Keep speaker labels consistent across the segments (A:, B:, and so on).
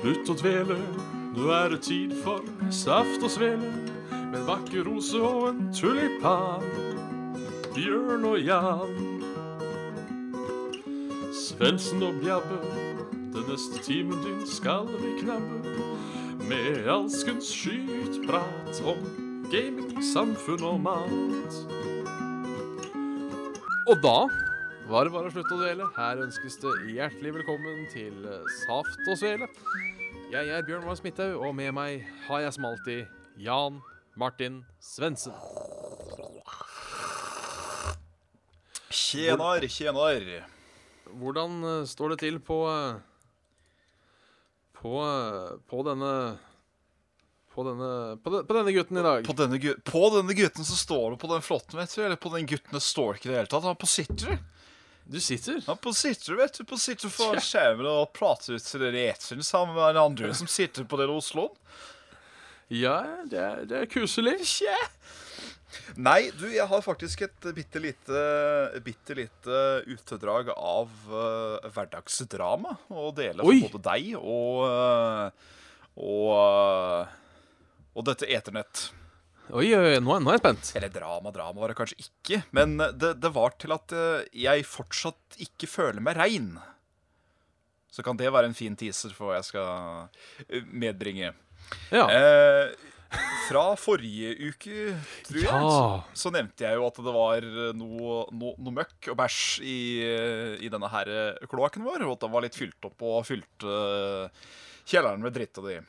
A: Slutt å dvele, nå er det tid for saft og svele. Med en vakker rose og en tulipan. Bjørn og Jan. Svendsen og Bjabbe, den neste timen din skal vi knabbe. Med alskens skytprat om gaming, samfunn og mat.
B: Og da var det bare å slutte å dvele. Her ønskes det hjertelig velkommen til eh, Saft og Svele. Jeg er Bjørn Mars Midthaug, og med meg har jeg som alltid Jan Martin Svendsen.
C: Tjenar, tjenar.
B: Hvordan eh, står det til på eh, på, eh, på denne på denne, på, de, på denne gutten i dag.
C: På denne, gu- på denne gutten som står det på den flotten, vet du. Eller på den gutten det står ikke i det hele tatt. Han på sitter.
B: Du sitter.
C: Han på sitter, vet du. På sitter foran skjermen og prater ut til dere eteren sammen med den andre som sitter på den Osloen.
B: Ja, det er, det er kuselig.
C: Tje. Nei, du, jeg har faktisk et bitte lite, bitte lite utedrag av eh, hverdagsdrama å dele for
B: Oi.
C: både deg og eh, og, eh, og dette eternett.
B: Oi, oi, nå er, nå er jeg spent.
C: Eller drama, drama var det kanskje ikke. Men det, det var til at eh, jeg fortsatt ikke føler meg rein. Så kan det være en fin teaser for hva jeg skal eh, medbringe.
B: Ja.
C: Eh, fra forrige uke, tror jeg,
B: Ja.
C: så, så nevnte jeg jo at det var eh, noe, no, noe møkk og bæsj i, eh, i denne her eh, kloakken vår. Og at den var litt fylt opp og fylte eh, kjelleren med dritt og det.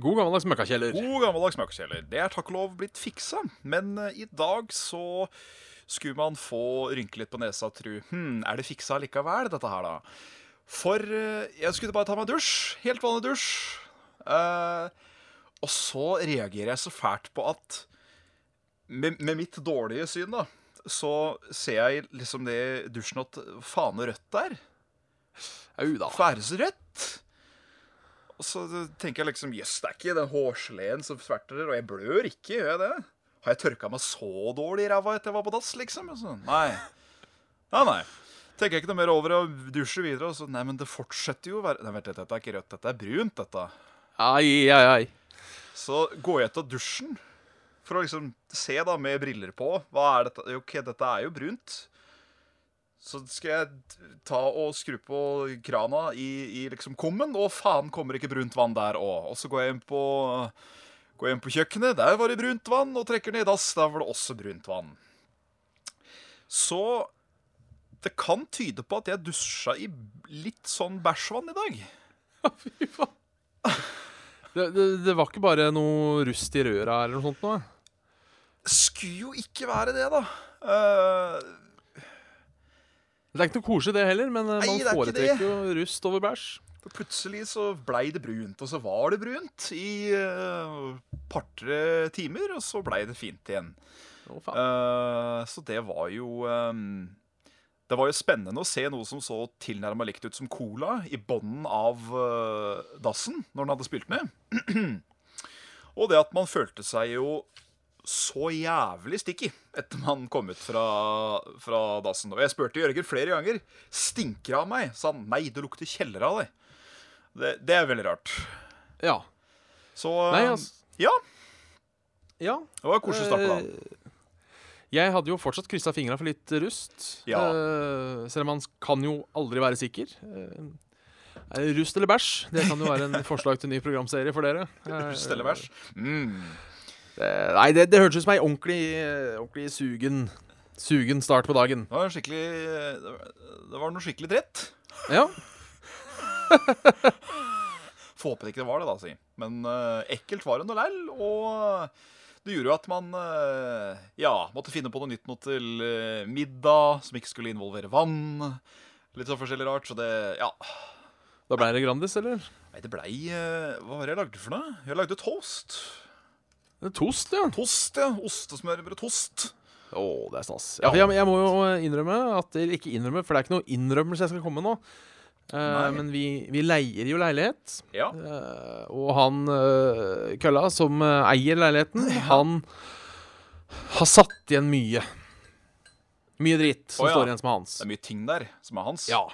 B: God gammeldags møkkakjeller.
C: God gammeldags møkkakjeller. Det er takk og lov blitt fiksa, men eh, i dag så skulle man få rynke litt på nesa og tru Hm, er det fiksa likevel, dette her, da? For eh, jeg skulle bare ta meg en dusj. Helt vanlig dusj. Eh, og så reagerer jeg så fælt på at med, med mitt dårlige syn, da, så ser jeg liksom det i dusjen at faen rødt der.
B: Au da.
C: Tverrsrødt. Og så tenker jeg liksom Jøss, det er ikke den hårsleden som sverter, og jeg blør ikke, gjør jeg det? Har jeg tørka meg så dårlig i ræva etter jeg var på dass, liksom? Og Så, nei. Nei, nei. Tenker jeg ikke noe mer over å dusje videre. Og så, nei, men det fortsetter jo å være Nei, vent litt, dette er ikke rødt, dette er brunt, dette.
B: Ai, ai, ai.
C: Så går jeg ut av dusjen for å liksom se da med briller på. Hva er dette? Jo, Ok, dette er jo brunt. Så skal jeg ta og skru på krana i, i liksom kummen, og faen kommer ikke brunt vann der òg. Og så går jeg inn på Går jeg inn på kjøkkenet, der var det brunt vann, og trekker ned i dass, der var det også brunt vann. Så det kan tyde på at jeg dusja i litt sånn bæsjvann i dag.
B: Fy faen. Det, det, det var ikke bare noe rust i røra eller noe sånt? Noe.
C: Skulle jo ikke være det, da. Eh,
B: Det er ikke noe koselig, det heller, men eh, man
C: Nei, det er ikke det.
B: foretrekker jo rust over bæsj.
C: For plutselig så blei det brunt, og så var det brunt i et par-tre timer, og så blei det fint igjen.
B: Å, faen.
C: Eh, så det var jo ehm, Det var jo spennende å se noe som så tilnærma likt ut som cola i bånden av eh, dassen når den hadde spilt ned. og det at man følte seg jo så jævlig sticky etter man kom ut fra, fra dassen. Og jeg spurte Jørgen flere ganger. Stinker det av meg? Sa han. Nei, det lukter kjeller av deg. Det, det er veldig rart.
B: Ja.
C: Så
B: Nei,
C: eh,
B: altså
C: ja,
B: Ja.
C: det var koselig å starte da.
B: Eh, Jeg hadde jo fortsatt kryssa fingra for litt rust.
C: Ja.
B: eh, Selv om man kan jo aldri være sikker. Eh, Er det rust eller bæsj? Det kan jo være en forslag til en ny programserie for dere. Eh,
C: Stellebæsj. Mm.
B: Det- Nei, det, det hørtes ut som ei ordentlig, eh, ordentlig sugen, sugen start på dagen.
C: Det var en skikkelig det var- Det var noe skikkelig dritt.
B: Ja,
C: Forhåpentlig ikke det var det, da, si. Men eh, ekkelt var det nå lell, og det gjorde jo at man eh, ja, måtte finne på noe nytt noe til eh, middag, som ikke skulle involvere vann. Litt sånn forskjellig rart, så det Ja.
B: Da ble det Grandis, eller?
C: Nei, det blei eh, Hva var det jeg lagde for noe? Jeg lagde toast.
B: Det er Toast, ja.
C: Toast, ja. Ostesmørbrød toast.
B: Å, det er stas. Ja, for jeg, jeg må jo innrømme at Eller ikke innrømme, for det er ikke noe innrømmelse jeg skal komme med nå. Eh,
C: Nei.
B: men vi, vi leier jo leilighet.
C: Ja.
B: eh, og han eh, kølla som eh, eier leiligheten, han har satt igjen mye. Mye dritt som
C: Å, ja.
B: står igjen som er hans.
C: Det er mye ting der som er hans.
B: Ja.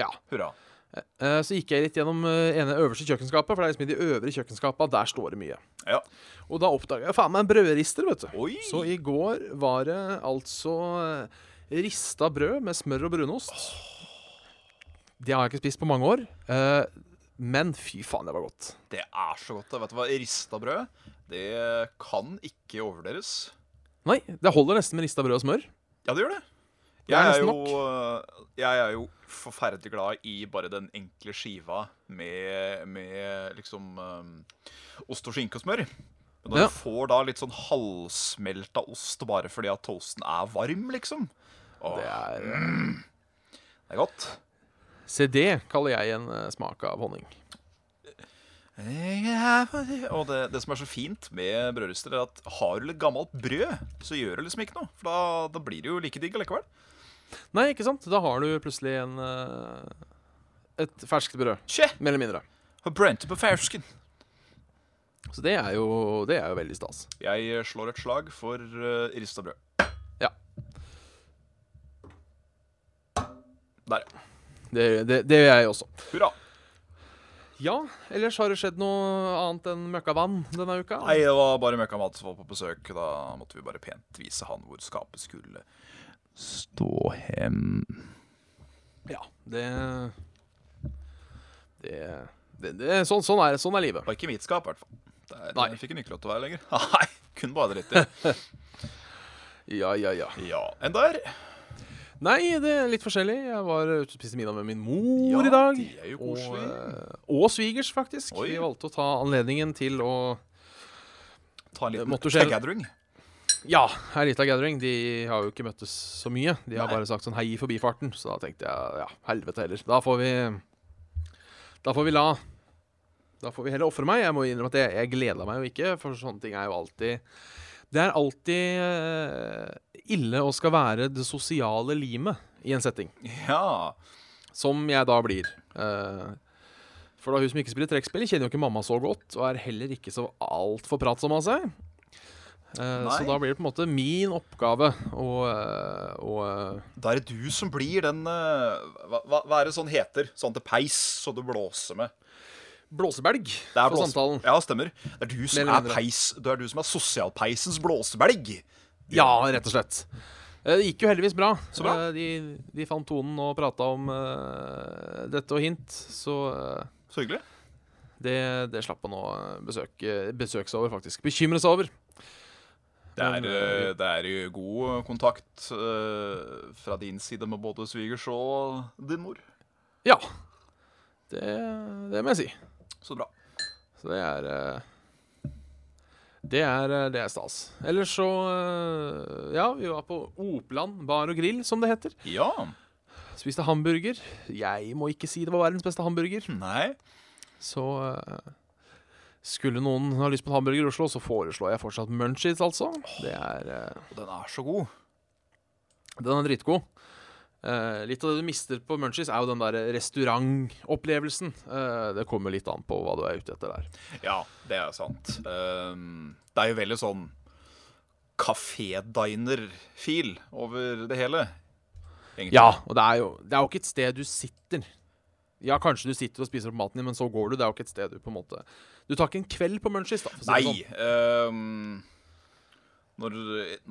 B: Ja.
C: Hurra.
B: Eh, Så gikk jeg litt gjennom eh, ene øverste kjøkkenskapet, for det er liksom i de øvre kjøkkenskapene der står det mye.
C: Ja.
B: Og da oppdaga jeg faen meg en brødrister, vet du.
C: Oi!
B: Så i går var det altså eh, rista brød med smør og brunost. Det har jeg ikke spist på mange år. eh, Men fy faen, det var godt.
C: Det er så godt. det. Vet du hva? Rista brød det kan ikke overvurderes.
B: Nei, det holder nesten med rista brød og smør.
C: Ja, det gjør det.
B: er
C: Jeg er,
B: nesten
C: jo, eh, jeg er jo forferdelig glad i bare den enkle skiva med, med liksom um, ost og skinke og smør. Men når
B: Ja.
C: du får da litt sånn halvsmelta ost bare fordi at toasten er varm, liksom Åh,
B: Det
C: det,
B: er
C: er... godt.
B: Se, det kaller jeg en eh, smak av honning.
C: Og det, det som er så fint med brødrister, er at har du litt gammelt brød, så gjør det liksom ikke noe. For da, da blir det jo like digg allikevel.
B: Nei, ikke sant? Da har du plutselig en eh, et ferskt brød,
C: Tje!
B: mer eller mindre.
C: Har brent på fersken.
B: Så det er jo, det er jo veldig stas.
C: Jeg slår et slag for uh, rista brød.
B: Ja.
C: Der, ja.
B: Det, det, det gjør jeg også.
C: Hurra.
B: Ja, ellers har det skjedd noe annet enn møkkavann denne uka?
C: Nei, det var bare Møkka Mads som var på besøk. Da måtte vi bare pent vise han hvor skapet skulle stå hen.
B: Ja, det Det, det, det sånn, sånn er det. Sånn er livet.
C: Det var ikke mitt skap, i hvert fall. Der
B: Nei.
C: Nei. fikk jeg ikke lov til å være lenger. Nei, kun bade litt i.
B: Ja, ja, ja.
C: Ja, enn der.
B: Nei, det er litt forskjellig. Jeg var ute og spiste middag med min
C: Ja,
B: mor i dag.
C: det er jo koselig.
B: Og, eh, og svigers, faktisk.
C: Oi.
B: Vi valgte å ta anledningen til å
C: Ta en liten
B: måtte skje-
C: gathering.
B: Ja, ei lita gathering. De har jo ikke møttes så mye. De har
C: Nei.
B: bare sagt sånn hei i forbifarten. Så da tenkte jeg ja, helvete heller. Da får vi Da får vi la Da får vi heller ofre meg. Jeg må innrømme at jeg, jeg gleda meg jo ikke, for sånne ting er jo alltid Det er alltid eh, ille å skal være det sosiale limet i en setting.
C: Ja.
B: Som jeg da blir. Eh, for da hun som ikke spiller trekkspill, kjenner jo ikke mamma så godt, og er heller ikke så altfor pratsom av seg. Eh,
C: Nei.
B: så da blir det på en måte min oppgave å eh, å, eh,
C: Da er det du som blir den eh, hva, hva hva er det sånn heter? Sånn til peis, så du blåser med.
B: Blåsebelg
C: Det er
B: for
C: blåse-
B: samtalen.
C: Ja, stemmer. Det er du som
B: Mer eller
C: er
B: mindre.
C: peis Det er du som er sosialpeisens blåsebelg.
B: Ja, rett og slett. Eh, Det gikk jo heldigvis bra.
C: Så bra.
B: Eh, De, de fant tonen og prata om eh, dette og hint, så eh,
C: Så hyggelig.
B: det, det slapp han å besøk, eh, besøks over, faktisk. Bekymre seg over.
C: Det
B: Men,
C: er, eh, det er jo god kontakt eh, fra din side med både svigers og din mor.
B: Ja. Det, det må jeg si.
C: Så bra.
B: Så det er eh, Det er, eh, det er stas. Ellers så eh, Ja, vi var på Opland bar og grill, som det heter.
C: Ja.
B: Spiste hamburger. Jeg må ikke si det var verdens beste hamburger.
C: Nei.
B: Så eh, skulle noen ha lyst på en hamburger i Oslo, så foreslår jeg fortsatt Munchies, altså. Det er eh,
C: Og den er så god.
B: Den er dritgod. Eh, litt av det du mister på Munchies, er jo den der restaurantopplevelsen. Eh, det kommer litt an på hva du er ute etter der.
C: Ja, det er sant. Ehm, det er jo veldig sånn kafé-diner-feel over det hele. egentlig.
B: Ja, og det er jo, det er jo ikke et sted du sitter. Ja, kanskje du sitter og spiser opp maten din, men så går du. Det er jo ikke et sted du på en måte Du tar ikke en kveld på Munchies, da. For å si det
C: Nei.
B: sånn.
C: ehm, når,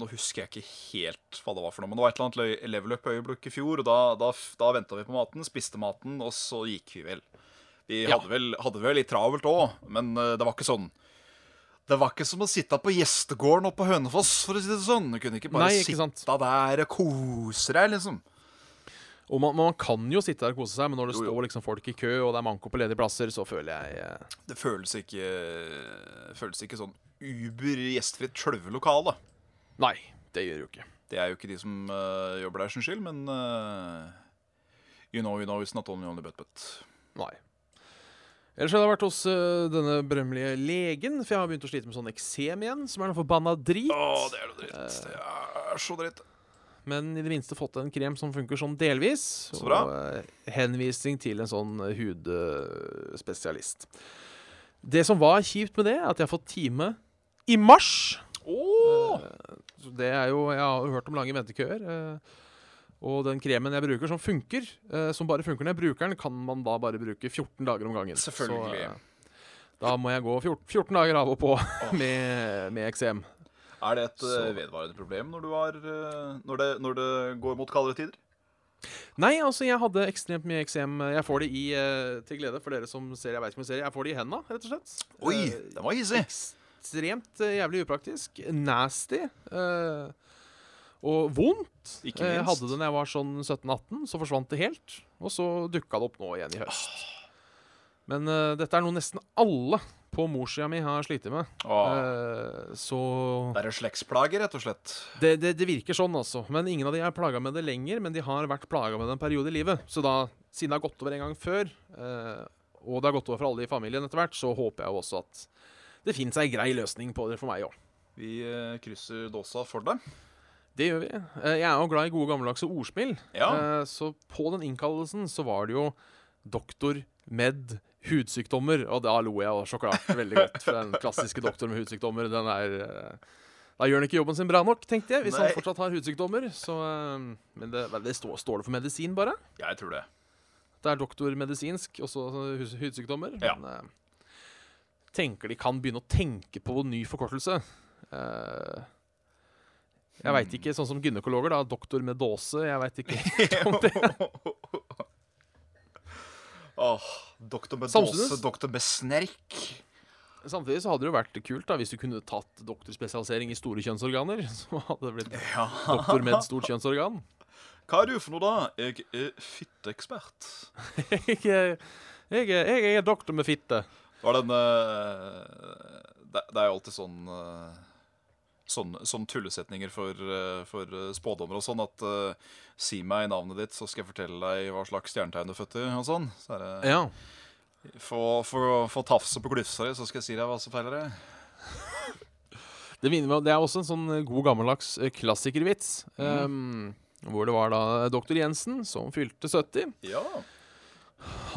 C: nå husker jeg ikke helt hva det var for noe, men det var et eller annet løy- level up-øyeblikk i fjor, og da, da, f- da venta vi på maten, spiste maten, og så gikk vi vel. Vi
B: Ja.
C: hadde, vel, hadde vel litt travelt òg, men eh, det var ikke sånn. Det var ikke som å sitte på gjestegården oppe på Hønefoss, for å si det sånn. Du kunne ikke bare
B: Nei, ikke sant.
C: sitte der og kose deg, liksom.
B: Og man, man kan jo sitte der og kose seg, men når det
C: Jo, jo.
B: står liksom folk i kø, og det er manko på ledige plasser, så føler jeg eh,
C: Det føles ikke, føles ikke sånn uber gjestfritt sjølve lokalet.
B: Nei, det gjør jo ikke.
C: Det er jo ikke de som øh, jobber der sin skyld, men øh, You know, you know, it's not only on the butt, but
B: Nei. Ellers har jeg vært hos eh, denne berømmelige legen, for jeg har begynt å slite med sånn eksem igjen, som er noe forbanna drit.
C: Å, det er noe dritt. Det er så dritt.
B: Men i det minste fått en krem som funker sånn delvis.
C: Så bra.
B: Og eh, henvisning til en sånn eh, hudspesialist. Det som var kjipt med det, er at jeg har fått time i mars.
C: Åh!
B: Så Det er jo, Jeg har jo hørt om lange ventekøer. eh, Og den kremen jeg bruker, som funker, eh, som bare funker når jeg bruker den, kan man da bare bruke 14 dager om gangen.
C: Selvfølgelig.
B: Så, eh, da må jeg gå 14, 14 dager av og på med, med eksem.
C: Er det et
B: Så-
C: eh, vedvarende problem når, du har, eh, når, det, når det går mot kaldere tider?
B: Nei, altså, jeg hadde ekstremt mye eksem. Jeg får det i, eh, til glede for dere som ser, jeg vet ikke om jeg ser, jeg får det i hendene, rett og slett.
C: Oi,
B: Eh,
C: den var hissig!
B: ekstremt eh, jævlig upraktisk. Nasty. eh, og vondt.
C: Ikke
B: Eh, Jeg
C: minst.
B: hadde det da jeg var sånn 17-18, så forsvant det helt. Og så dukka det opp nå igjen i høst. Men eh, dette er noe nesten alle på morssida mi har slitt med.
C: Åh,
B: Eh, så
C: det er en slektsplage, rett og slett.
B: det, det, det virker sånn, altså. Men ingen av de er plaga med det lenger, men de har vært plaga med det en periode i livet. Så da, siden det har gått over en gang før, eh, og det har gått over for alle i familien etter hvert, så håper jeg jo også at det fins ei grei løsning på det for meg òg.
C: Vi eh, krysser dåsa for deg.
B: Det gjør vi. Eh, Jeg er jo glad i gode gammeldagse ordspill.
C: Ja.
B: Eh, Så på den innkallelsen så var det jo doktor med hudsykdommer, og da lo jeg og sjokolade veldig godt. For den klassiske doktor med hudsykdommer, den er eh, Da gjør han ikke jobben sin bra nok, tenkte jeg, hvis
C: Nei.
B: han fortsatt har hudsykdommer. Så eh, Men det, vel, det står, står det for medisin, bare?
C: Jeg tror det.
B: Det er doktor medisinsk, også hus- hudsykdommer.
C: Ja.
B: Men eh, tenker de kan begynne å tenke på ny forkortelse. Eh, jeg veit ikke, sånn som gynekologer, da. Doktor med dåse. Jeg veit ikke.
C: Åh, doktor med
B: Samtidig-
C: dåse, doktor med snerk.
B: Samtidig så hadde det jo vært kult da hvis du kunne tatt doktorspesialisering i store kjønnsorganer. Så hadde det blitt
C: Ja.
B: doktor med et stort kjønnsorgan.
C: Hva er du for noe, da? Jeg er fitteekspert.
B: Jeg, er- jeg, er- jeg er doktor med fitte.
C: Var den eh, det, det er jo alltid sånn eh, Sånn, sånn tullesetninger for, eh, for eh, spådommer og sånn. At eh, 'si meg navnet ditt, så skal jeg fortelle deg hva slags stjernetegn du er født i'. og sånn. Så er det,
B: Ja.
C: få, få, få tafse på glufsa di, så skal jeg si deg hva som feiler deg.
B: Det, minner meg, om- det er også en sånn god gammeldags eh, klassikervits. eh, hvor det var da doktor Jensen som fylte 70.
C: Ja.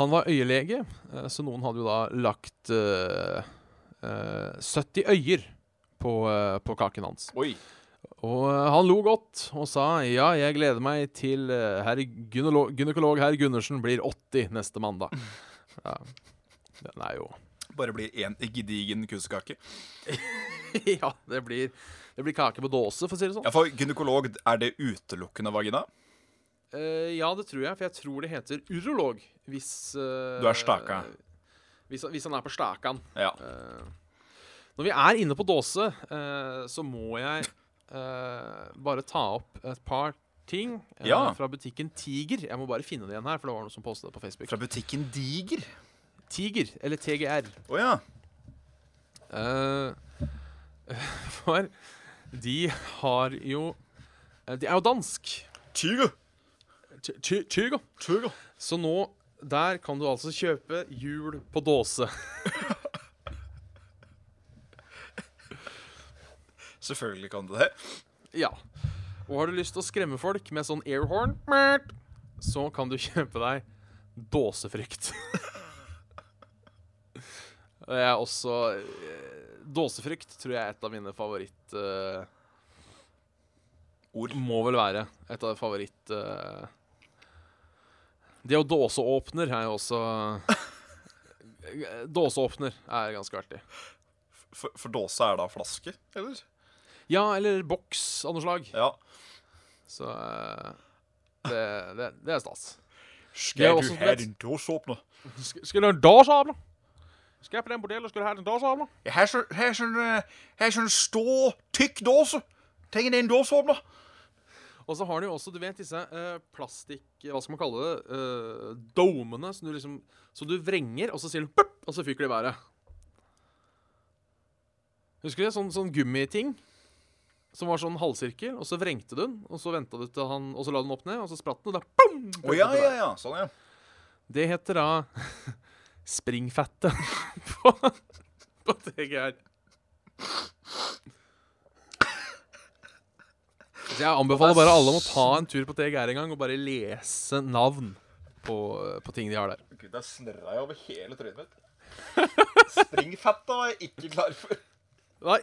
B: Han var øyelege, eh, så noen hadde jo da lagt eh, eh, 70 øyer på, eh, på kaken hans.
C: Oi.
B: Og eh, han lo godt og sa ja, jeg gleder meg til eh, herr gynolo- gynekolog herr Gundersen blir 80 neste mandag. Ja. Den er jo
C: Bare blir én gedigen kunstkake.
B: Ja, det blir, det blir kake på dåse, for å si det sånn.
C: Ja, for gynekolog, er det utelukkende vagina?
B: Eh, ja, det tror jeg, for jeg tror det heter urolog hvis eh,
C: Du er staka.
B: Hvis, han- hvis han er på stakan.
C: Ja.
B: Eh, når vi er inne på dåse, eh, så må jeg eh, bare ta opp et par ting eh,
C: Ja.
B: fra butikken Tiger. Jeg må bare finne det igjen her, for det var noen som postet det på Facebook.
C: Fra butikken Diger.
B: Tiger, eller TGR.
C: Å ja.
B: Eh, for de har jo eh, De er jo dansk.
C: Tiger.
B: Ty- ty- Tygo.
C: Tiger.
B: Så nå Der kan du altså kjøpe hjul på dåse.
C: Selvfølgelig kan du det.
B: Ja. Og har du lyst til å skremme folk med sånn airhorn, så kan du kjøpe deg dåsefrykt. Og jeg er også eh, Dåsefrykt tror jeg er et av mine favoritt... eh,
C: Ord.
B: Må vel være et av favoritt eh, Det å dåseåpner er jo også Dåseåpner er ganske artig.
C: For, for dåse er da flaske, eller?
B: Ja, eller boks av noe slag.
C: Ja.
B: Så eh, det, det, det er stas. Det er
C: Skal
B: også
C: du
B: som
C: ha
B: et-
C: din dåseåpner?
B: Skal, skal du ha en dåseåpner? Skal jeg på den bordellen, skal du ha en dåseåpner?
C: Her er sånn, stor, tykk dåse. Trenger en dåseåpner.
B: Og så har du jo også, du vet, disse eh, plastikk... Hva skal man kalle det? Eh, domene som du liksom Som du vrenger, og så sier du pop, og så fyker de i været. Husker du det? Sånn, sånn gummiting som var sånn halvsirkel, og så vrengte du den, og så venta du til han Og så la du den opp ned, og så spratt den, og da bom!
C: Å ja, ja, ja. Sånn, ja.
B: Det heter da springfette på, på TGR. Så jeg anbefaler bare alle om å ta en tur på TGR en gang og bare lese navn på, på ting de har der.
C: Gud, der snørra jeg over hele trynet mitt. Springfetta var jeg ikke klar for.
B: Nei.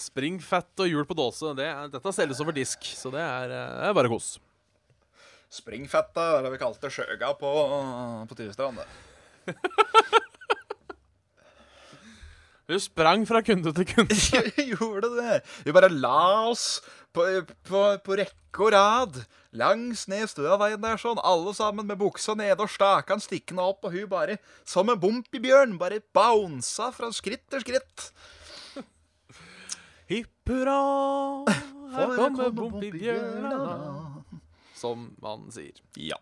B: Springfett og hjul på dåse. Det er, dette selges over disk, så det er, eh, det er bare kos.
C: Springfettet, eller det vi kalte det, sjøga på, på Tyvestrand. det.
B: Du sprang fra kunde til kunde.
C: Vi gjorde det. Vi bare la oss på, på, på rekke og rad langs ned Støaveien der sånn, alle sammen med buksa nede og stakan stikkende opp, og hun bare, som en bompibjørn, bare bounsa fra skritt til skritt.
B: Hipp hurra, her kommer bompibjørna,
C: Bompibjørna.
B: som man sier.
C: Ja.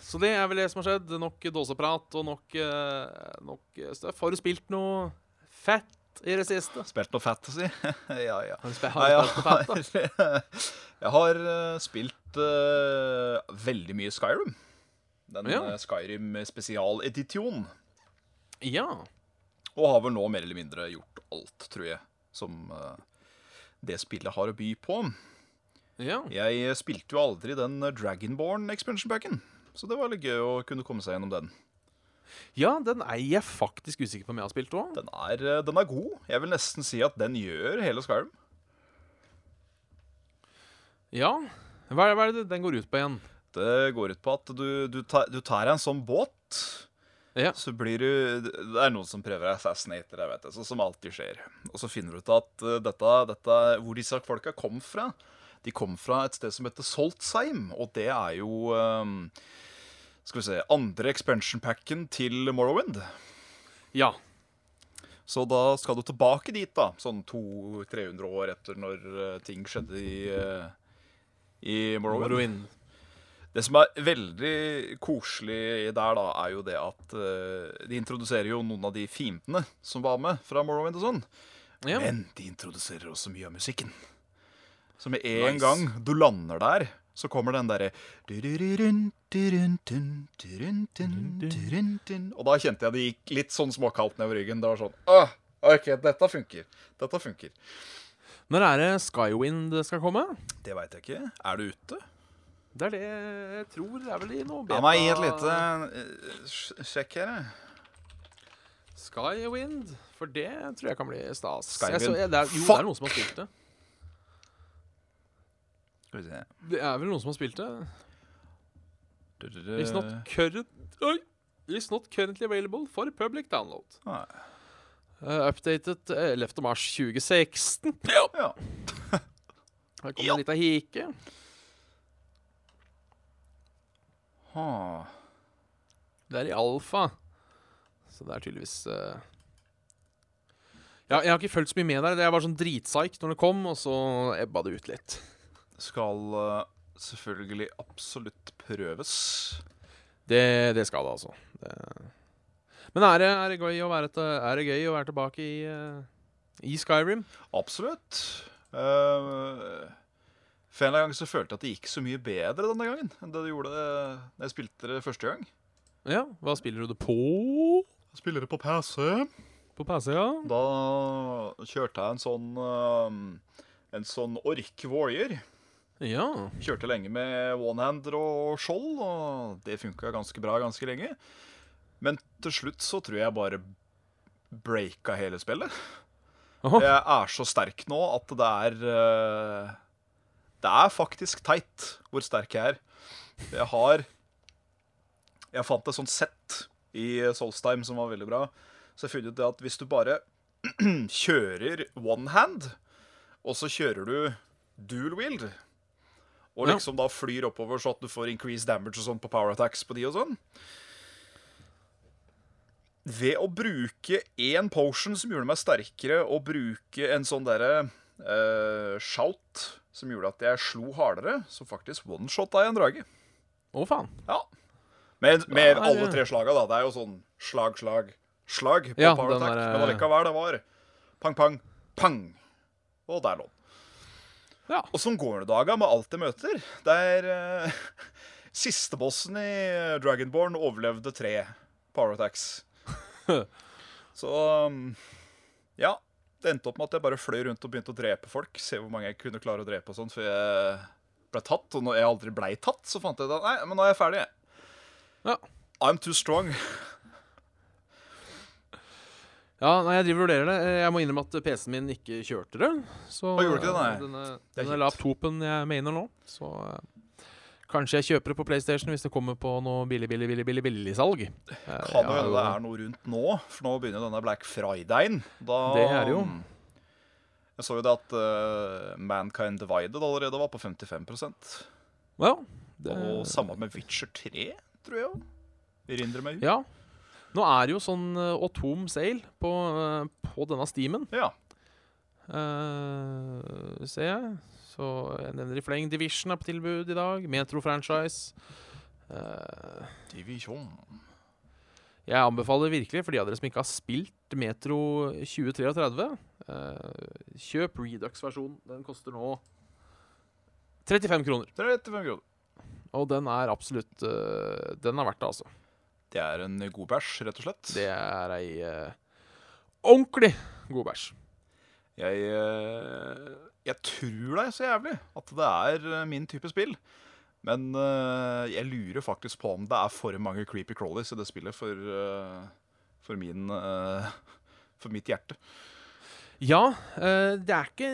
B: Så det er vel det som har skjedd. Nok dåseprat og nok, eh, nok eh, støff. Har du spilt noe fett i det siste?
C: Spilt noe fantasy? ja, ja.
B: Har du spe- har du spilt noe fett, da?
C: jeg har, jeg har eh, spilt eh, veldig mye Skyrim. Den
B: Ja.
C: eh, Skyrim spesialedition.
B: Ja.
C: Og har vel nå mer eller mindre gjort alt, tror jeg, som eh, det spillet har å by på.
B: ja.
C: Jeg spilte jo aldri den Dragonborn expansion packen, så det var litt gøy å kunne komme seg gjennom den.
B: Ja, den er jeg faktisk usikker på om jeg har spilt òg.
C: Den er, eh, den er god. Jeg vil nesten si at den gjør hele Skyrim.
B: Ja. Hva er, det, hva er det den går ut på igjen?
C: Det går ut på at du, du, tar, du tar en sånn båt.
B: Ja.
C: Så blir du Det er noen som prøver å assassinate deg, vet du. Sånn som alltid skjer. Og så finner du ut at eh, dette, dette Hvor disse folka kom fra De kom fra et sted som heter Soltsheim, og det er jo eh, Skal vi se Andre expansion packen til Morrowind.
B: ja.
C: Så da skal du tilbake dit, da. Sånn 200-300 år etter når eh, ting skjedde i, eh, i Morrowind.
B: Morrowind.
C: Det som er veldig koselig der, da, er jo det at eh, de introduserer jo noen av de fiendene som var med fra Morrowind og sånn.
B: Ja.
C: Men de introduserer også mye av musikken. Så med en
B: Nice.
C: gang du lander der, så kommer den derre Og da kjente jeg det gikk litt sånn småkaldt nedover ryggen. Det var sånn Åh, OK, dette funker. Dette funker.
B: Når er det Skywind skal komme?
C: Det veit jeg ikke. Er du ute?
B: Det er det jeg tror. Det er vel i noe
C: La meg gi et lite eh, sj- sjekk her, jeg.
B: Skywind. For det tror jeg kan bli stas.
C: Skywind.
B: Jeg så, jeg, det er, jo, det
C: Fuck!
B: er noen som har spilt det.
C: Skal vi se.
B: Det er vel noen som har spilt det. It's not
C: Nei.
B: current Oi! It's not currently available for public download. Uh, updated uh, 11. mars 2016. Ja.
C: Ja.
B: Her kommer
C: Ja.
B: en lita hike.
C: Ha.
B: Det er i alfa. Så det er tydeligvis eh, Ja, jeg har ikke fulgt så mye med der. Jeg var sånn dritsike når det kom, og så ebba det ut litt.
C: Skal eh, selvfølgelig absolutt prøves.
B: Det, det skal det, altså. Det... Men er det, er, det gøy å være til, er det gøy å være tilbake i, eh, i Skyrim?
C: Absolutt. Eh, for en eller annen gang så følte jeg at det gikk så mye bedre denne gangen enn det det gjorde da jeg spilte det første gang.
B: Ja. Hva spiller du det på?
C: Jeg spiller det på PC.
B: På PC, ja?
C: Da kjørte jeg en sånn eh, En sånn ork warrior.
B: Ja.
C: Kjørte lenge med one-hander og skjold, og det funka ganske bra ganske lenge. Men til slutt så tror jeg bare breaka hele spillet.
B: Aha.
C: Jeg er så sterk nå at det er eh, Det er faktisk teit hvor sterk jeg er. Jeg har Jeg fant et sånt sett i Solstheim som var veldig bra. Så jeg fant ut det at hvis du bare kjører one hand, og så kjører du dual wield og
B: Ja.
C: liksom da flyr oppover så at du får increased damage og sånn på power attacks på de og sånn. Ved å bruke én potion som gjorde meg sterkere, og bruke en sånn derre eh, shout som gjorde at jeg slo hardere, så faktisk one-shotta jeg en drage.
B: Å, faen.
C: Ja. Med, med
B: Nei,
C: alle
B: det-
C: tre slaga, da. Det er jo sånn slag, slag, slag på
B: Ja,
C: power
B: den der,
C: attack.
B: eh,
C: Men allikevel, det var pang, pang, pang. Og der lå den.
B: Ja.
C: Og sånn går det daga med alt jeg møter. Der uh, siste bossen i eh, Dragonborn overlevde tre power attacks. Så um, ja. Det endte opp med at jeg bare fløy rundt og begynte å drepe folk. Se hvor mange jeg kunne klare å drepe og sånn, før jeg ble tatt. Og når jeg aldri blei tatt, så fant jeg ut at nei, men nå er jeg ferdig. jeg.
B: Ja.
C: I'm too strong.
B: Ja, nei, jeg driver og vurderer det. Eh, Jeg må innrømme at PC-en min ikke kjørte det. Så eh,
C: Å, gjorde ikke det, nei?
B: Denne,
C: Det er
B: denne
C: kjipt.
B: laptopen jeg mener nå, så eh, Kanskje jeg kjøper det på PlayStation hvis det kommer på noe billig, billig, billig, billig, billig salg. Eh,
C: Kan jo hende det er noe rundt nå, for nå begynner denne Black Fridayen. Da,
B: Det er det jo.
C: Jeg så jo det at eh, Mankind Divided allerede var på 55
B: Ja, det,
C: Og samme med Witcher 3, tror jeg. Erindrer meg.
B: ja. Nå er det jo sånn eh, atom sale på, eh, på denne steamen,
C: Ja.
B: eh, ser jeg. Så jeg nevner i fleng Division er på tilbud i dag. Metro franchise. Eh,
C: Divisjon.
B: Jeg anbefaler virkelig, for de av dere som ikke har spilt Metro 2033, eh, kjøp Redux-versjonen. Den koster nå 35 kroner.
C: 35 kroner.
B: Og den er absolutt eh, Den er verdt det, altså.
C: Det er en god bæsj, rett og slett.
B: Det er ei eh, ordentlig god bæsj.
C: Jeg, eh, jeg tror deg så jævlig at det er eh, min type spill. Men eh, jeg lurer faktisk på om det er for mange creepy crawlies i det spillet for, eh, for min eh, For mitt hjerte.
B: Ja, eh, det er ikke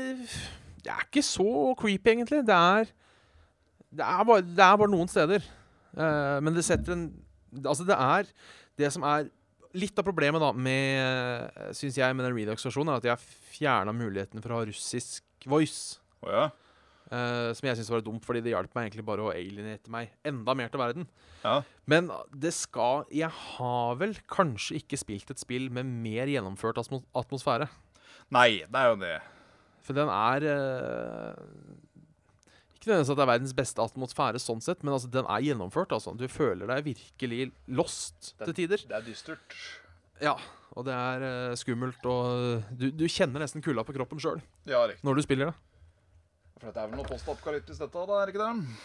B: Det er ikke så creepy, egentlig. Det er Det er bare, det er bare noen steder. Eh, men det setter en Altså, det er Det som er litt av problemet, da, med eh, Synes jeg, med den Redux-versjonen, er at jeg har fjerna muligheten for å ha russisk voice.
C: Å ja.
B: eh, som jeg syntes var dumt, fordi det hjalp meg egentlig bare å alienate meg enda mer til verden.
C: ja.
B: Men det skal Jeg har vel kanskje ikke spilt et spill med mer gjennomført atmo- atmosfære.
C: Nei, det er jo det.
B: For den er eh, Ikke nødvendigvis at det er verdens beste atmosfære sånn sett, men altså, den er gjennomført. Altså. Du føler deg virkelig lost til tider.
C: Det er dystert.
B: Ja, og det er eh, skummelt, og eh, du, du kjenner nesten kulda på kroppen sjøl
C: Ja, riktig.
B: når du spiller det.
C: For det er vel noe postapokalyptisk dette, da, er det ikke det?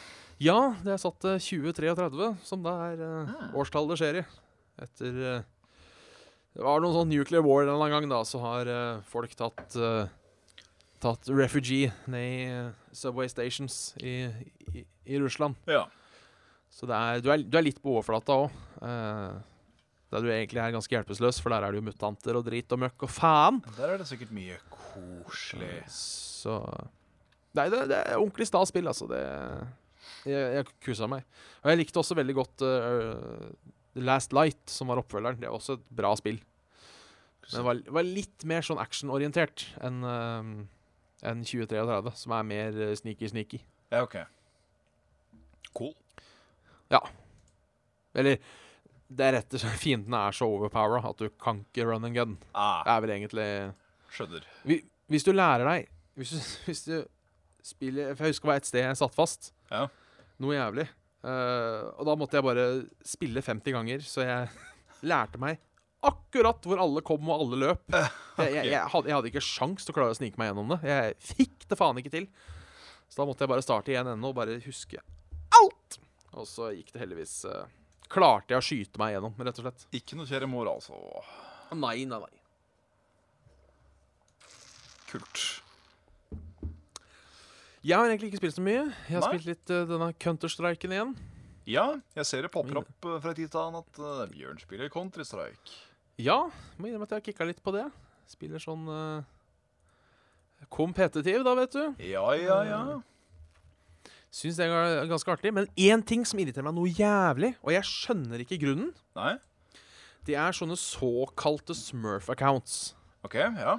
B: Ja, det er satt eh, til 2033, som det er eh, årstallet det skjer i. Etter eh, Det var noen sånn nuclear war en eller annen gang, da, så har eh, folk tatt eh, Tatt refugee ned i eh, subway stations i, i, i Russland.
C: Ja.
B: Så det er, du, er, du er litt på overflata òg. der du egentlig er ganske hjelpeløs, for der er det jo mutanter og drit og møkk og faen.
C: Der er det sikkert mye koselig.
B: Så Nei, det, det er ordentlig stas spill, altså. Det Jeg, jeg kusa meg. Og jeg likte også veldig godt eh, The Last Light, som var oppfølgeren. Det var også et bra spill. Men det var, var litt mer sånn actionorientert enn eh, enn 2033, som er mer eh, sneaky-sneaky.
C: Ja, OK. Cool.
B: Eller det er rett og slett Fiendene er så overpowera at du kan ikke run and gun. Det
C: Ah,
B: er vel egentlig
C: skjønner.
B: Hvi- Hvis du lærer deg Hvis du, hvis du spiller For jeg husker det var et sted jeg satt fast.
C: Ja.
B: Noe jævlig. Eh, og da måtte jeg bare spille 50 ganger, så jeg lærte meg akkurat hvor alle kom og alle løp. Jeg, jeg, jeg, hadde, jeg hadde ikke sjans til å klare å snike meg gjennom det. Jeg fikk det faen ikke til. Så da måtte jeg bare starte igjen ennå og bare huske alt. Og så gikk det heldigvis eh, Klarte jeg å skyte meg gjennom, rett og slett.
C: Ikke noe kjære mor, altså.
B: Nei, nei, nei.
C: Kult.
B: Jeg har egentlig ikke spilt så mye. Jeg har
C: Nei.
B: spilt litt eh, denne Counter-Striken igjen.
C: Ja, jeg ser det popper opp eh, fra tid til annen at eh, Bjørn spiller Counter-Strike.
B: Ja, må innrømme at jeg har kikka litt på det. Spiller sånn eh, kompetitiv, da, vet du.
C: Ja, ja, ja.
B: Syns det er ganske artig. Men én ting som irriterer meg noe jævlig, og jeg skjønner ikke grunnen,
C: Nei?
B: det er sånne såkalte Smurf-accounts.
C: OK, ja.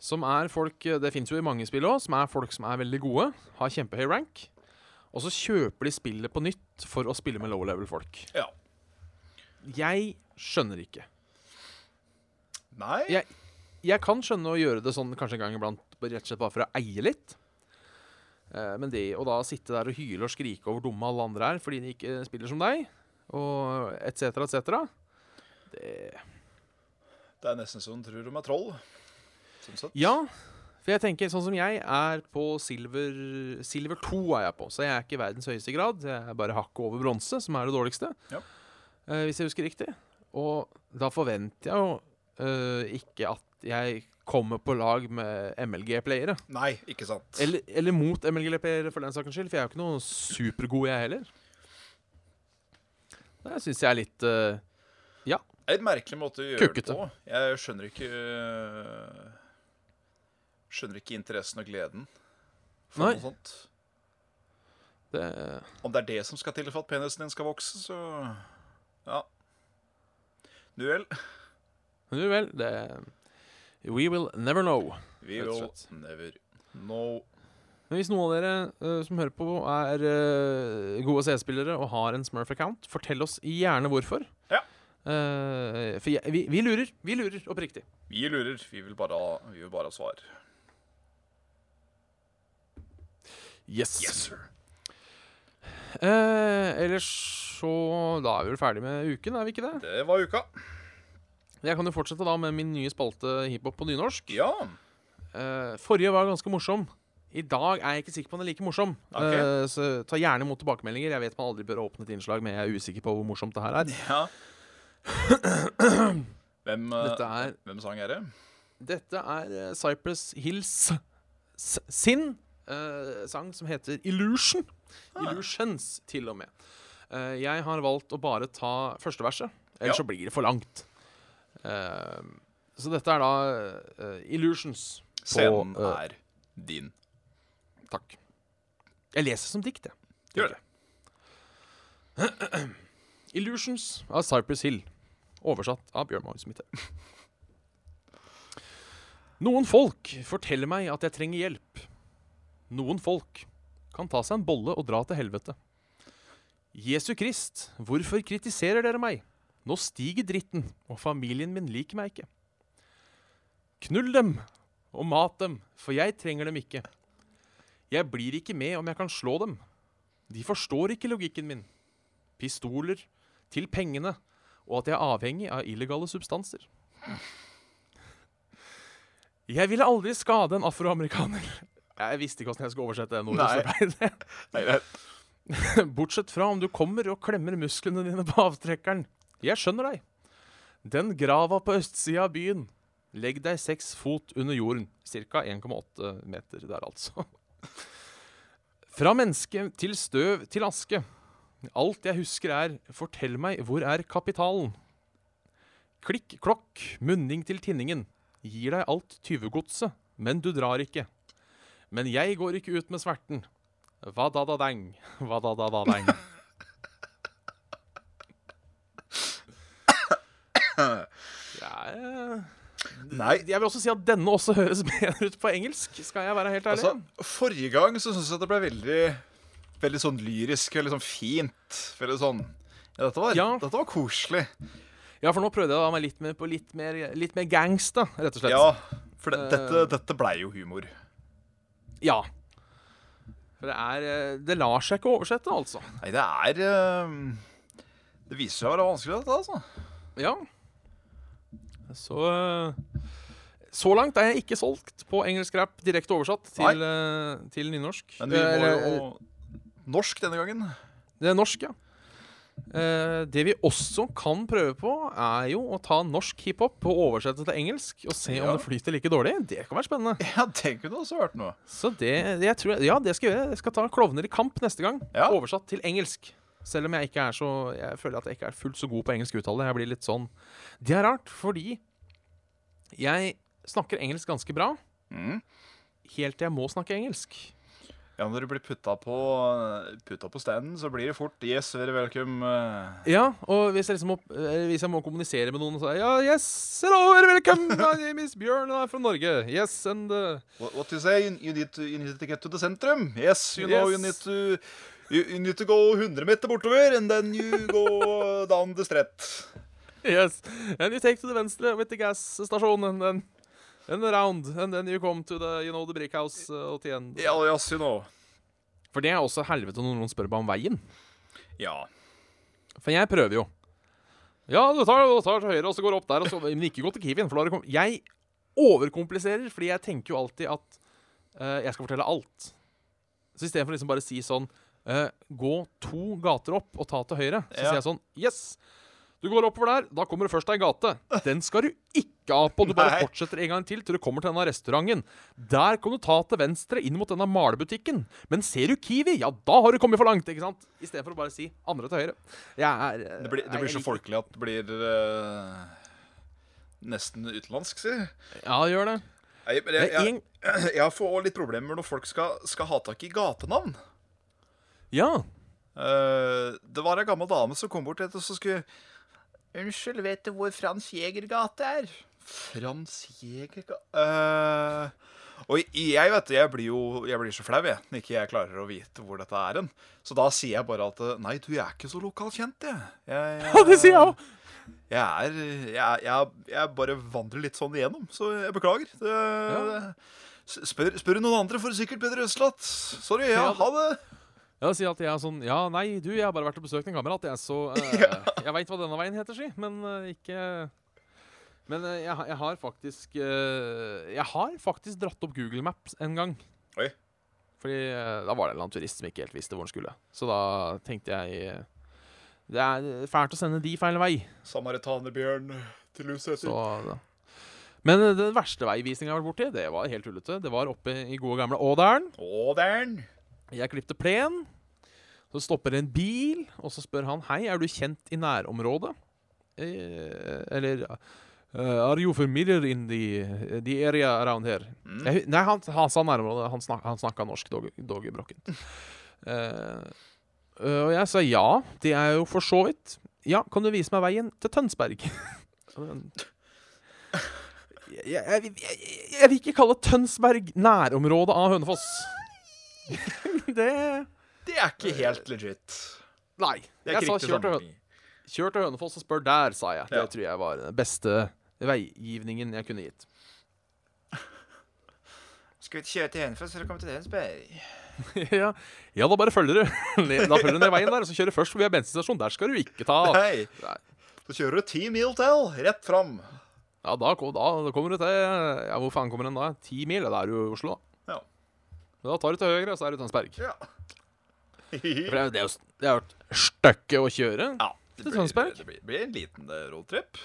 B: Som er folk eh, Det fins jo i mange spill òg, som er folk som er veldig gode, har kjempehøy rank. Og så kjøper de spillet på nytt for å spille med low level-folk.
C: Ja.
B: Jeg skjønner ikke.
C: Nei?
B: Jeg- Jeg kan skjønne å gjøre det sånn kanskje en gang iblant, bare rett og slett bare for å eie litt. Eh, Men det å da sitte der og hyle og skrike over hvor dumme alle andre er fordi de ikke eh, spiller som deg, og et cetera, et cetera det...
C: Det er nesten så hun tror de er troll. Sånn sett.
B: Ja, for jeg tenker sånn som jeg er på silver Silver 2 er jeg på, så jeg er ikke i verdens høyeste grad. Jeg er bare hakket over bronse, som er det dårligste,
C: Ja.
B: eh, hvis jeg husker riktig. Og da forventer jeg jo eh, ikke at jeg kommer på lag med MLG-playere.
C: Nei, ikke sant.
B: Eller, eller mot MLGP, for den saks skyld, for jeg er jo ikke noe supergod, jeg heller. Det syns jeg er litt eh,
C: Det er litt merkelig måte å gjøre
B: Kukkete.
C: det på. Jeg skjønner ikke øh, Skjønner ikke interessen og gleden for
B: Nei.
C: noe sånt.
B: Det,
C: Om det er det som skal til for at penisen din skal vokse, så Ja. Nu vel.
B: nu vel, det We will never know.
C: Vi
B: Rett og
C: will
B: slett.
C: never know.
B: Men hvis noen av dere eh, som hører på, er eh, gode CS-spillere og har en Smurf-account, fortell oss gjerne hvorfor.
C: Ja.
B: Eh, for jeg, vi, vi lurer. Vi lurer oppriktig.
C: Vi lurer. Vi vil bare ha, vi vil bare ha svar.
B: Yes.
C: sir.
B: Eh, ellers så Da er vi vel ferdig med uken, er vi ikke det?
C: Det var uka.
B: Jeg kan jo fortsette da med min nye spalte hiphop på nynorsk.
C: Ja.
B: Eh, forrige var ganske morsom. I dag er jeg ikke sikker på om den er like morsom.
C: Ok.
B: Eh, så ta gjerne imot tilbakemeldinger. Jeg vet man aldri bør åpne et innslag, men jeg er usikker på hvor morsomt det her er.
C: ja. Hvem, eh,
B: Dette er,
C: hvem sang er det?
B: dette er eh, Cypress Hills s sin eh, sang som heter Illusion.
C: Ah.
B: Illusions, til og med. Eh, jeg har valgt å bare ta første verset, ellers
C: Ja.
B: så blir det for langt. Eh, så dette er da eh, Illusions.
C: Scenen
B: eh,
C: er din.
B: Takk. Jeg leser som dikt, jeg.
C: Gjør det.
B: Illusions av Cypress Hill. Oversatt av Bjørn Magnus Mitte. Noen folk forteller meg at jeg trenger hjelp. Noen folk kan ta seg en bolle og dra til helvete. Jesu Krist, hvorfor kritiserer dere meg? Nå stiger dritten, og familien min liker meg ikke. Knull dem og mat dem, for jeg trenger dem ikke. Jeg blir ikke med om jeg kan slå dem. De forstår ikke logikken min. Pistoler, til pengene, og at jeg er avhengig av illegale substanser. Jeg ville aldri skade en afroamerikaner. Jeg visste ikke hvordan jeg skulle oversette det ordet. så
C: Nei, det er
B: det- Bortsett fra om du kommer og klemmer musklene dine på avtrekkeren. Jeg skjønner deg. Den grava på østsida av byen. Legg deg seks fot under jorden. Ca. 1,8 meter der, altså. Fra menneske til støv til aske. Alt jeg husker er 'Fortell meg, hvor er kapitalen?' Klikk, klokk, munning til tinningen. Gir deg alt tyvegodset, men du drar ikke. Men jeg går ikke ut med sverten. Hva da da deng, hva da da da deng. Jeg,
C: Nei.
B: eh, jeg vil også si at denne også høres bedre ut på engelsk, skal jeg være helt ærlig.
C: Altså, forrige gang så syns jeg det ble veldig Veldig sånn lyrisk, veldig sånn fint. Veldig sånn Ja, dette var,
B: Ja.
C: Dette var koselig.
B: Ja, for nå prøvde jeg da meg litt mer på litt mer, litt mer gangsta, rett og slett.
C: Ja, for det,
B: Eh.
C: dette, dette blei jo humor.
B: Ja. For det er eh, Det lar seg ikke oversette, altså.
C: Nei, det er eh, Det viser seg å være vanskelig, dette, altså.
B: Ja. Så eh, Så langt er jeg ikke solgt på engelsk rap direkte oversatt til, eh, til nynorsk.
C: Men vi må
B: Eh, Eller,
C: jo Norsk denne gangen.
B: Det er norsk, ja. Eh, det vi også kan prøve på, er jo å ta norsk hiphop og oversette til engelsk. Og se om
C: Ja.
B: det flyter like dårlig. Det kan være spennende.
C: Ja, det kunne også vært noe.
B: Så det, jeg tror, ja, det skal jeg gjøre. Jeg skal ta 'Klovner i kamp' neste gang.
C: Ja.
B: Oversatt til engelsk. Selv om jeg ikke er så Jeg føler at jeg ikke er fullt så god på engelsk uttale. Jeg blir litt sånn Det er rart, fordi jeg snakker engelsk ganske bra.
C: Mm.
B: Helt til jeg må snakke engelsk.
C: Ja, Når du blir putta på, putta på standen, så blir det fort 'yes, very welcome'. eh.
B: Ja, og hvis jeg, liksom må, eh, hvis jeg må kommunisere med noen, så er jeg ja, yes, hello, welcome, my name is Bjørn, and I'm from Norge. Yes, and uh,
C: What, what do you say? You need, to, you need to get to the centrum. Yes, you know, you need
B: Yes.
C: to you, you need to go 100 meter bortover, and then you go down the street.
B: yes, and you take to the venstre with the gas station, and then and around, and then you come to the, you know, the brick house uh, at the end.
C: Ja, yes, you know.
B: For det er også helvete når noen spør meg om veien.
C: Ja.
B: For jeg prøver jo. Ja, du tar, du tar til høyre, og så går du opp der, og så Men ikke gå til Kiwien, for da har det kom- Jeg overkompliserer, fordi jeg tenker jo alltid at eh, jeg skal fortelle alt. Så istedenfor liksom bare si sånn eh, Gå to gater opp og ta til høyre. Så
C: Ja.
B: sier jeg sånn Yes! Du går oppover der, da kommer det først ei gate. Den skal du ikke av på. Du bare
C: Nei.
B: fortsetter en gang til til du kommer til denne restauranten. Der kan du ta til venstre inn mot denne malebutikken. Men ser du Kiwi, ja, da har du kommet for langt. ikke sant? Istedenfor å bare si andre til høyre. Jeg er, eh,
C: Det blir, det
B: jeg-
C: blir så
B: jeg liker-
C: folkelig at det blir eh, nesten utenlandsk, si.
B: Ja, gjør det.
C: Jeg,
B: Det
C: jeg,
B: er
C: jeg,
B: en,
C: jeg får også litt problemer når folk skal, skal ha tak i gatenavn.
B: Ja.
C: Eh, det var ei gammel dame som kom bort etter og så skulle Unnskyld, vet du hvor Frans Jægergate er? Frans Jægergate Eh, Og jeg vet du, jeg blir jo jeg blir så flau jeg, når ikke jeg klarer å vite hvor dette er hen. Så da sier jeg bare at eh, nei, du, jeg er ikke så lokalkjent, jeg. jeg,
B: ja, det sier jeg òg.
C: jeg er jeg, jeg, jeg bare vandrer litt sånn igjennom, så jeg beklager. Det, s- Spør, spør noen andre, får du sikkert bedre utslatt. Sorry, ja,
B: Ja, det-
C: ha det.
B: Ja, si at jeg er sånn Ja, nei, du, jeg har bare vært og besøkt en kamerat. Jeg er så eh, Jeg veit hva denne veien heter, si, men eh, ikke Men eh, jeg, ha- jeg har faktisk eh, Jeg har faktisk dratt opp Google Maps en gang.
C: Oi.
B: Fordi eh, da var det en eller annen turist som ikke helt visste hvor han skulle. Så da tenkte jeg eh, Det er fælt å sende de feil vei.
C: Samaritanerbjørn til
B: Så
C: Lusæter.
B: da. Men eh, den verste veivisninga jeg har vært borti, det var helt tullete. Det var oppe i gode gamle Ådalen.
C: Å, dæren.
B: Jeg klippte plen. Så stopper en bil, og så spør han Hei, er du kjent i nærområdet? Eh, eller eh, Are you familiar in the, the area around here?
C: Mm.
B: Jeg, hu- nei, han, han sa nærområdet. Han, snak, han snakka norsk, Doggy- Doggy Brokken. Eh, eh, og jeg sa ja, det er jo for så vidt. Ja, kan du vise meg veien til Tønsberg? jeg, jeg, jeg, jeg, jeg vil ikke kalle Tønsberg nærområdet av Hønefoss. det
C: Det er ikke helt legit.
B: Nei.
C: Det er
B: Jeg sa kjør
C: ikke riktig
B: til, Høn-
C: sammenligning.
B: kjør til Hønefoss og spør der, sa jeg. Det
C: Ja.
B: tror jeg var den beste veigivningen jeg kunne gitt.
C: Skal vi kjøre til Hønefoss for å komme til Hønsberg?
B: ja. ja, da bare følger du. Ned- da følger du ned veien der, og så kjører du først forbi en bensinstasjon. Der skal du ikke ta.
C: Hei,
B: Ah, Nei.
C: så kjører du ti mil til, rett fram.
B: Ja, da, kom- da, da kommer du til Ja, hvor faen kommer den da? Ti mil? Da er du i Oslo.
C: Ja.
B: Da tar du til høyre, og så er du i Tønsberg.
C: Ja.
B: For det er jo- det er jo s- det er jo et stykke å kjøre.
C: ja
B: Til Tønsberg?
C: Det blir, det blir en liten eh, roadtrip.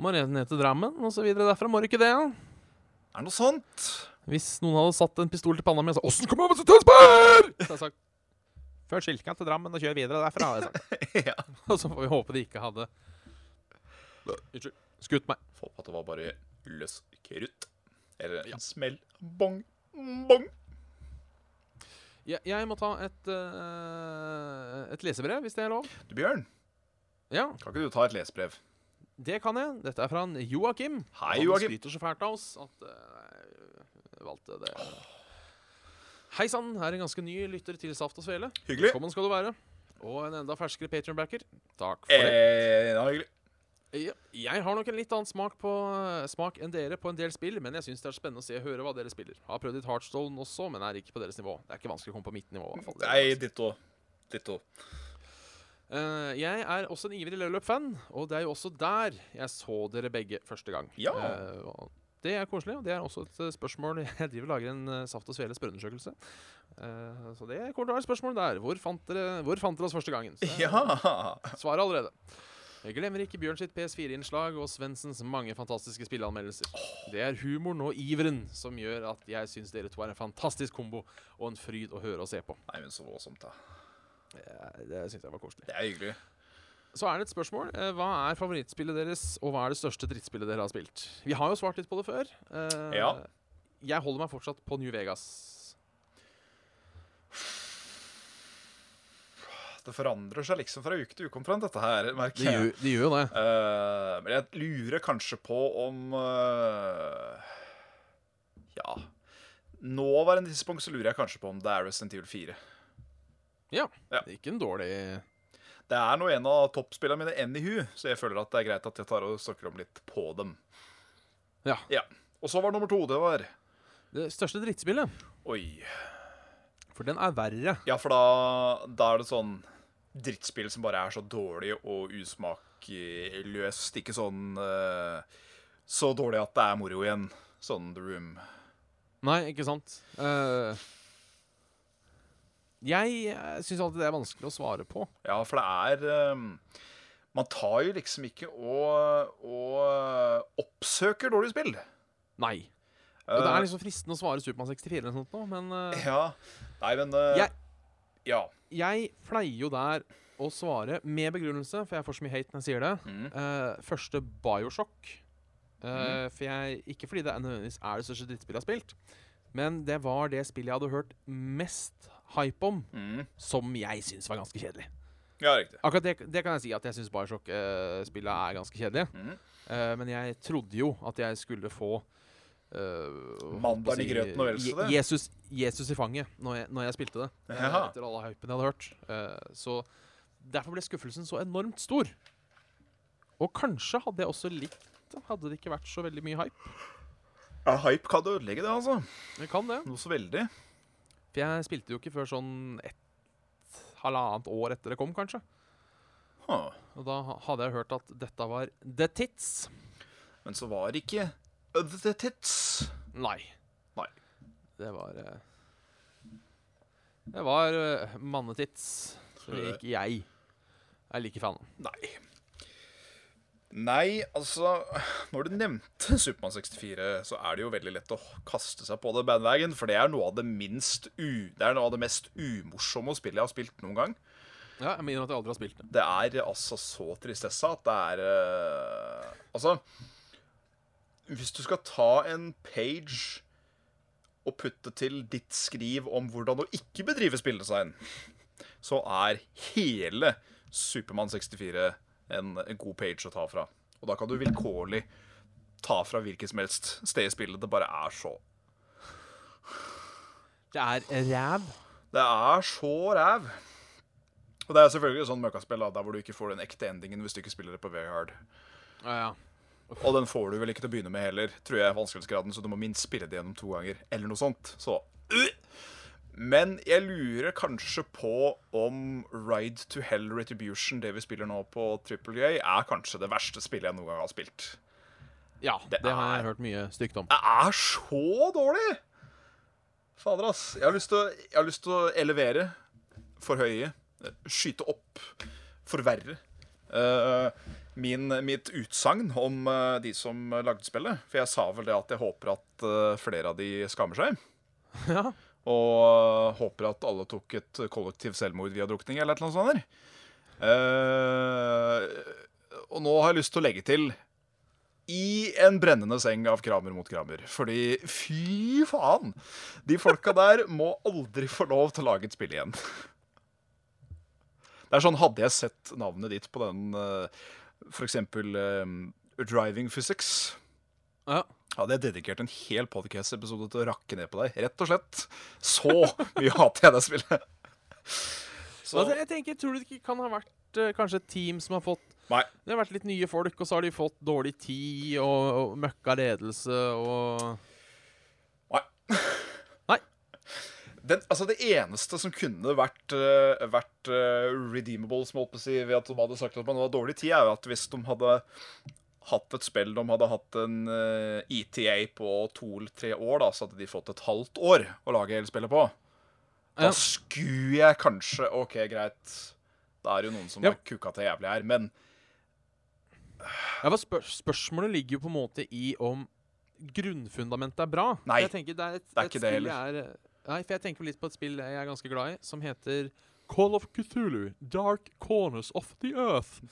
B: Må rett ned til Drammen og så videre derfra. Må du ikke det?
C: Er det noe sånt?
B: Hvis noen hadde satt en pistol til panna mi og sagt 'Åssen kommer jeg meg til Tønsberg?' Så hadde jeg sagt Før skiltkanten til Drammen og kjør videre derfra. Hadde jeg sagt.
C: ja.
B: Og så får vi håpe de ikke hadde Unnskyld. Skutt meg.
C: Håper at det var bare løs krutt. Eller en smell. Bong. Bong.
B: Jeg, jeg må ta et, eh, et lesebrev, hvis det er lov.
C: Du, Bjørn,
B: Ja,
C: kan ikke du ta et lesebrev?
B: Det kan jeg. Dette er fra en Joakim.
C: Hei,
B: han
C: Joakim.
B: skryter så fælt av oss at eh, jeg valgte det. Hei sann, her er en ganske ny lytter til Saft og Svele.
C: Hyggelig.
B: Velkommen skal du være. Og en enda ferskere Patreon-backer Takk for det.
C: Eh, ja, hyggelig.
B: Ja, Jeg har nok en litt annen smak, på, eh, smak enn dere på en del spill, men jeg syns det er spennende å se og høre hva dere spiller. Har prøvd litt Heartstone også, men er ikke på deres nivå. Det er ikke vanskelig å komme på mitt nivå. i hvert fall. Det er
C: Nei,
B: vanskelig.
C: ditto. Ditto.
B: Eh, jeg er også en ivrig Level-Up-fan, og det er jo også der jeg så dere begge første gang.
C: Ja.
B: Eh, og det er koselig, og det er også et eh, spørsmål Jeg driver og lager en eh, Saft og Svele spørreundersøkelse. Eh, så det kommer til å være et spørsmål der. Hvor fant dere, hvor fant dere oss første gangen? Så jeg
C: Ja.
B: Svaret allerede. Jeg glemmer ikke Bjørn sitt PS4-innslag og Svendsens mange fantastiske spilleanmeldelser. Det er humoren og iveren som gjør at jeg syns dere to er en fantastisk kombo og en fryd å høre og se på.
C: Nei, men så voldsomt, da.
B: Eh, Det syns jeg var koselig.
C: Det er hyggelig.
B: Så er det et spørsmål. Eh, Hva er favorittspillet deres, og hva er det største drittspillet dere har spilt? Vi har jo svart litt på det før. Eh,
C: Ja.
B: Jeg holder meg fortsatt på New Vegas.
C: Det forandrer seg liksom fra uke til uke omtrent, dette her, merker
B: Det
C: jeg.
B: gjør, de gjør jo det.
C: Eh, men jeg lurer kanskje på om eh, Ja. Nåværende tidspunkt så lurer jeg kanskje på om det er Resident Evil 4.
B: Ja.
C: Ja.
B: Det er ikke en dårlig
C: Det er nå en av toppspillene mine anywho, så jeg føler at det er greit at jeg tar og snakker om litt på dem.
B: Ja.
C: Og så var nummer to, det var
B: Det største drittspillet.
C: Oi.
B: For den er verre.
C: Ja, for da, da er det sånn drittspill som bare er så dårlig og usmakløst. Ikke sånn eh, så dårlig at det er moro igjen. Sånn The Room.
B: Nei, ikke sant. Eh, jeg syns alltid det er vanskelig å svare på.
C: Ja, for det er eh, Man tar jo liksom ikke og, og oppsøker dårlig spill.
B: Nei. Og det
C: Eh,
B: er liksom fristende å svare Supermann 64 eller noe sånt, nå, men eh,
C: Ja. Nei, men eh,
B: Jeg-
C: Ja.
B: jeg pleier jo der å svare med begrunnelse, for jeg får så mye hate når jeg sier det.
C: Mm.
B: Eh, første Bioshock. Eh, For jeg, ikke fordi det er nødvendigvis er det største drittspillet jeg har spilt, men det var det spillet jeg hadde hørt mest hype om,
C: Mm.
B: som jeg syns var ganske kjedelig.
C: Ja, riktig.
B: Akkurat det, det kan jeg si, at jeg syns Bioshock-spillene er ganske kjedelige.
C: Mhm.
B: Eh, men jeg trodde jo at jeg skulle få eh, hva
C: Mandagen
B: skal
C: i
B: jeg si,
C: grøten og vel så
B: Je-
C: det.
B: Jesus, Jesus i fanget, når jeg, når jeg spilte det. eh,
C: Jaha.
B: Etter alle hypen jeg hadde hørt. Eh, så derfor ble skuffelsen så enormt stor. Og kanskje hadde jeg også likt det, hadde det ikke vært så veldig mye hype.
C: Ja, hype kan ødelegge det, altså.
B: Jeg kan det.
C: Noe så veldig.
B: For jeg spilte jo ikke før sånn et halvannet år etter det kom, kanskje.
C: Huh.
B: Og da ha- hadde jeg hørt at dette var the tits.
C: Men så var det ikke The Tits.
B: Nei.
C: Nei.
B: Det var eh, Det var eh, mannetits. Så ikke jeg er like fan.
C: Nei. Nei, altså Når du nevnte Supermann 64, så er det jo veldig lett å kaste seg på det bandwagon, for det er noe av det minst u... Det er noe av det mest umorsomme spillet jeg har spilt noen gang.
B: Ja, jeg må innrømme at jeg aldri har spilt det.
C: Det er altså så tristessa at det er eh, Altså Hvis du skal ta en page og putte til ditt skriv om hvordan å ikke bedrive spilldesign, så er hele Supermann 64 en, en god page å ta fra. Og da kan du vilkårlig ta fra hvilket som helst sted i spillet. Det bare er så
B: Det er ræv.
C: Det er så ræv. Og det er selvfølgelig sånn møkkaspill da, der hvor du ikke får den ekte endingen hvis du ikke spiller det på very hard.
B: Ja, ja.
C: Og den får du vel ikke til å begynne med heller, tror jeg, vanskelighetsgraden, så du må minst spille det gjennom to ganger, eller noe sånt. Så øh. Men jeg lurer kanskje på om Ride to Hell Retribution, det vi spiller nå på Triple J, er kanskje det verste spillet jeg noen gang har spilt.
B: ja det,
C: Det
B: har jeg
C: er-
B: hørt mye stygt om.
C: Det er så dårlig! Fader, ass. Jeg har lyst til å, jeg har lyst til å elevere, forhøye, skyte opp, forverre eh, min, mitt utsagn om eh, de som lagde spillet. For jeg sa vel det at jeg håper at eh, flere av de skammer seg.
B: Ja.
C: Og eh, håper at alle tok et kollektiv selvmord via drukning eller et eller annet sånt. der. Eh, og nå har jeg lyst til å legge til i en brennende seng av Kramer mot Kramer. Fordi fy faen! De folka der må aldri få lov til å lage et spill igjen. Det er sånn, hadde jeg sett navnet ditt på den eh, For eksempel eh, Driving Physics,
B: Ja.
C: hadde jeg dedikert en hel podcast-episode til å rakke ned på deg. Rett og slett. Så mye hater jeg det spillet. Så
B: Altså, jeg tenker, Tror du det ikke kan ha vært eh, kanskje et team som har fått
C: Nei.
B: Det har vært litt nye folk, og så har de fått dårlig tid og, og møkka ledelse og
C: Nei.
B: Nei.
C: Den, altså Det eneste som kunne vært, eh, vært eh, redeemable, som jeg holdt på å si, ved at de hadde sagt at man hadde dårlig tid, er jo at hvis de hadde hatt et spill de hadde hatt en eh, ETA på to eller tre år, da, så hadde de fått et halvt år å lage hele spillet på. Da
B: Ja.
C: skulle jeg kanskje OK, greit. Da er det jo noen som
B: Ja.
C: har kuka til jævlig her, men
B: Ja, for spør Spørsmålet ligger jo på en måte i om grunnfundamentet er bra.
C: Nei,
B: For jeg tenker det er, et,
C: det er
B: et
C: ikke det
B: spill jeg er- eh, Nei, for jeg tenker litt på et spill jeg er ganske glad i, som heter Call of Cthulhu, Dark Corners of the Earth.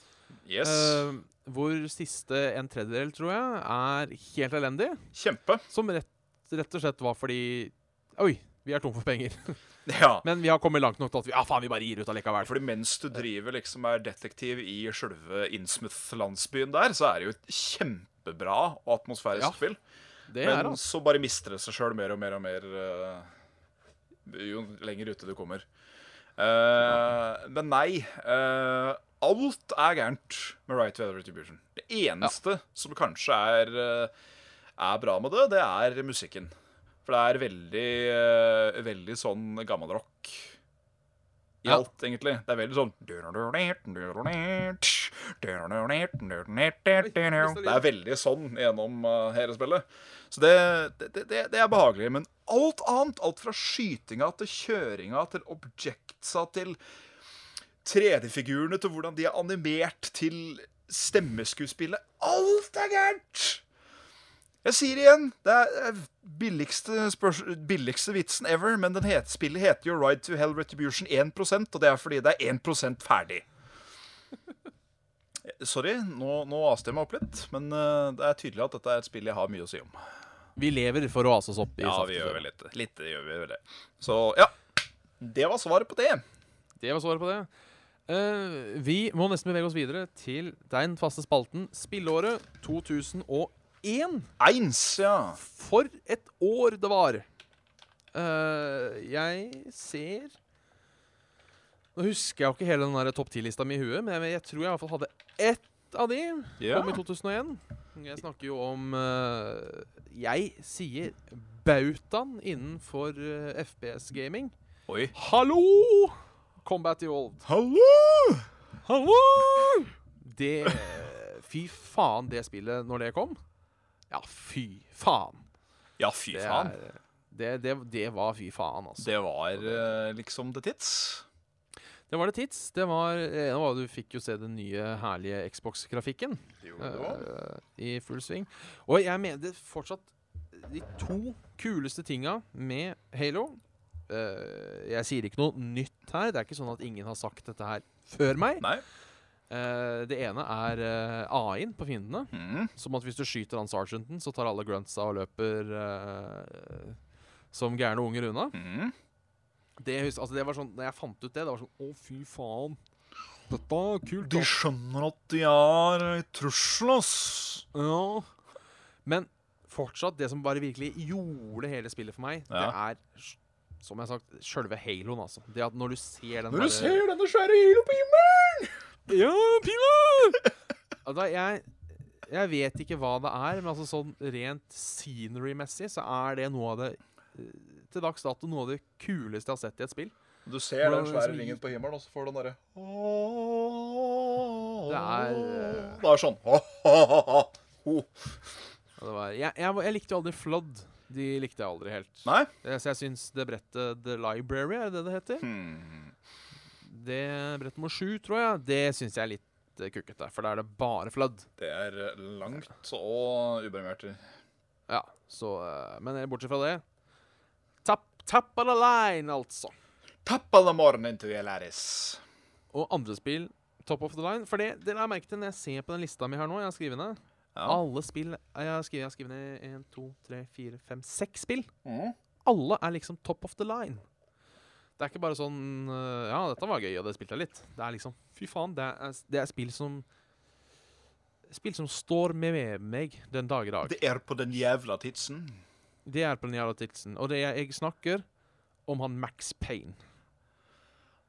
C: yes.
B: Eh, hvor siste en tredjedel, tror jeg, er helt elendig.
C: kjempe.
B: Som rett, rett og slett var fordi Oi, vi er tom for penger.
C: Ja.
B: Men vi har kommet langt nok til at vi, ja, faen, vi bare gir ut allikevel.
C: Fordi mens du driver liksom er detektiv i sjølve Innsmouth-landsbyen der, så er det jo et kjempebra og atmosfærisk
B: Ja,
C: spill.
B: det
C: Men
B: er altså
C: så bare mister det seg sjøl mer og mer og mer eh, jo lenger ute du kommer. Eh, Men nei. eh, alt er gærent med Right to Weather Retribution. Det eneste som kanskje er, eh, er bra med det, det er musikken. For det er veldig, eh, veldig sånn gammelrock i
B: Ja.
C: alt, egentlig. Det er veldig sånn Det er veldig sånn gjennom eh, hele spillet. Så det, det, det, det er behagelig. Men alt annet, alt fra skytinga til kjøringa til objectsa til 3D-figurene til hvordan de er animert til stemmeskuespillet Alt er gærent! Jeg sier det igjen, det er det er billigste, spørs billigste vitsen ever, men den het, spillet heter jo Ride to Hell Retribution 1 og det er fordi det er 1 ferdig. Eh, Sorry, nå, nå aste jeg meg opp litt, men eh, det er tydelig at dette er et spill jeg har mye å si om.
B: Vi lever for å ase oss opp i
C: Ja,
B: saft
C: vi
B: og
C: gjør
B: søl.
C: vel litt, litt gjør vi vel det. Så ja, Det var svaret på det.
B: Det var svaret på det. Eh, vi må nesten bevege oss videre til den faste spalten Spilleåret 2001.
C: Eins, ja.
B: For et år det var! Eh, jeg ser Nå husker jeg jo ikke hele den der topp 10-lista mi i huet, men jeg, jeg tror jeg i hvert fall hadde ett av de.
C: ja.
B: Kom i 2001. Jeg snakker jo om eh, Jeg sier bautaen innenfor eh, FPS gaming.
C: Oi.
B: Hallo! Combat Evolved.
C: Hallo!
B: Hallo! Det Fy faen, det spillet når det kom. Ja, fy faen.
C: Ja, fy
B: Det,
C: faen.
B: er, det, det, det var fy faen, altså. Det,
C: Det var eh, liksom the tits.
B: var det tids. Det var, eh, det var Du fikk jo se den nye, herlige Xbox-grafikken eh, i full sving. Og jeg mener fortsatt eh, de to kuleste tinga med Halo eh, Jeg sier ikke noe nytt her. Det er ikke sånn at ingen har sagt dette her før meg.
C: Nei.
B: Eh, det ene er eh, AI-en på fiendene.
C: Mm.
B: Som at hvis du skyter han sergeanten, så tar alle gruntsa og løper eh, som gærne unger unna.
C: Mm.
B: Det, hus- altså, det var sånn, når jeg fant ut det, det var sånn Å, fy faen. Dette er kult.
C: De
B: ass».
C: skjønner at de er i trussel, ass.
B: Ja. Men fortsatt, det som bare virkelig gjorde hele spillet for meg,
C: Ja.
B: det er, s- som jeg har sagt, sjølve haloen, altså. Det at når du ser den
C: Når du
B: derre-
C: ser denne svære hyla på himmelen!
B: Ja, pila! altså, jeg, jeg vet ikke hva det er, men altså sånn rent scenery-messig så er det noe av det eh, til dags dato noe av det kuleste jeg har sett i et spill.
C: Du ser
B: Hvordan
C: den svære
B: liksom-
C: ringen på himmelen, og så får du den derre
B: Det er, eh,
C: Det er sånn Ho.
B: Og Det var, jeg, jeg, var- jeg likte jo aldri Flood. De likte jeg aldri helt.
C: Nei?
B: Eh, Så jeg syns det brettet The Library, er det det det heter?
C: Hmm.
B: Det brett nummer sju, tror jeg. Det syns jeg er litt eh, kukkete, for da er det bare Flood.
C: Det er langt og ubrimert.
B: Ja, så eh, Men eh, bortsett fra det Tap, tap of the line, altså.
C: Tappa the morning to Yelaris.
B: Og andre spill top of the line. For det dere har merket det når jeg ser på den lista mi her nå, jeg har skrevet ned
C: Ja.
B: Alle spill Jeg har skrevet, jeg har skrevet ned 1, 2, 3, 4, 5, 6 spill.
C: Mm.
B: Alle er liksom top of the line. Det er ikke bare sånn øh, Ja, dette var gøy, og det spilte jeg litt. Det er liksom Fy faen, det er, det er spill som Spill som står med meg den dag i dag.
C: Det er på den jævla tidsen.
B: Det er på den jævla tidsen. Og det er, jeg snakker om han Max Payne.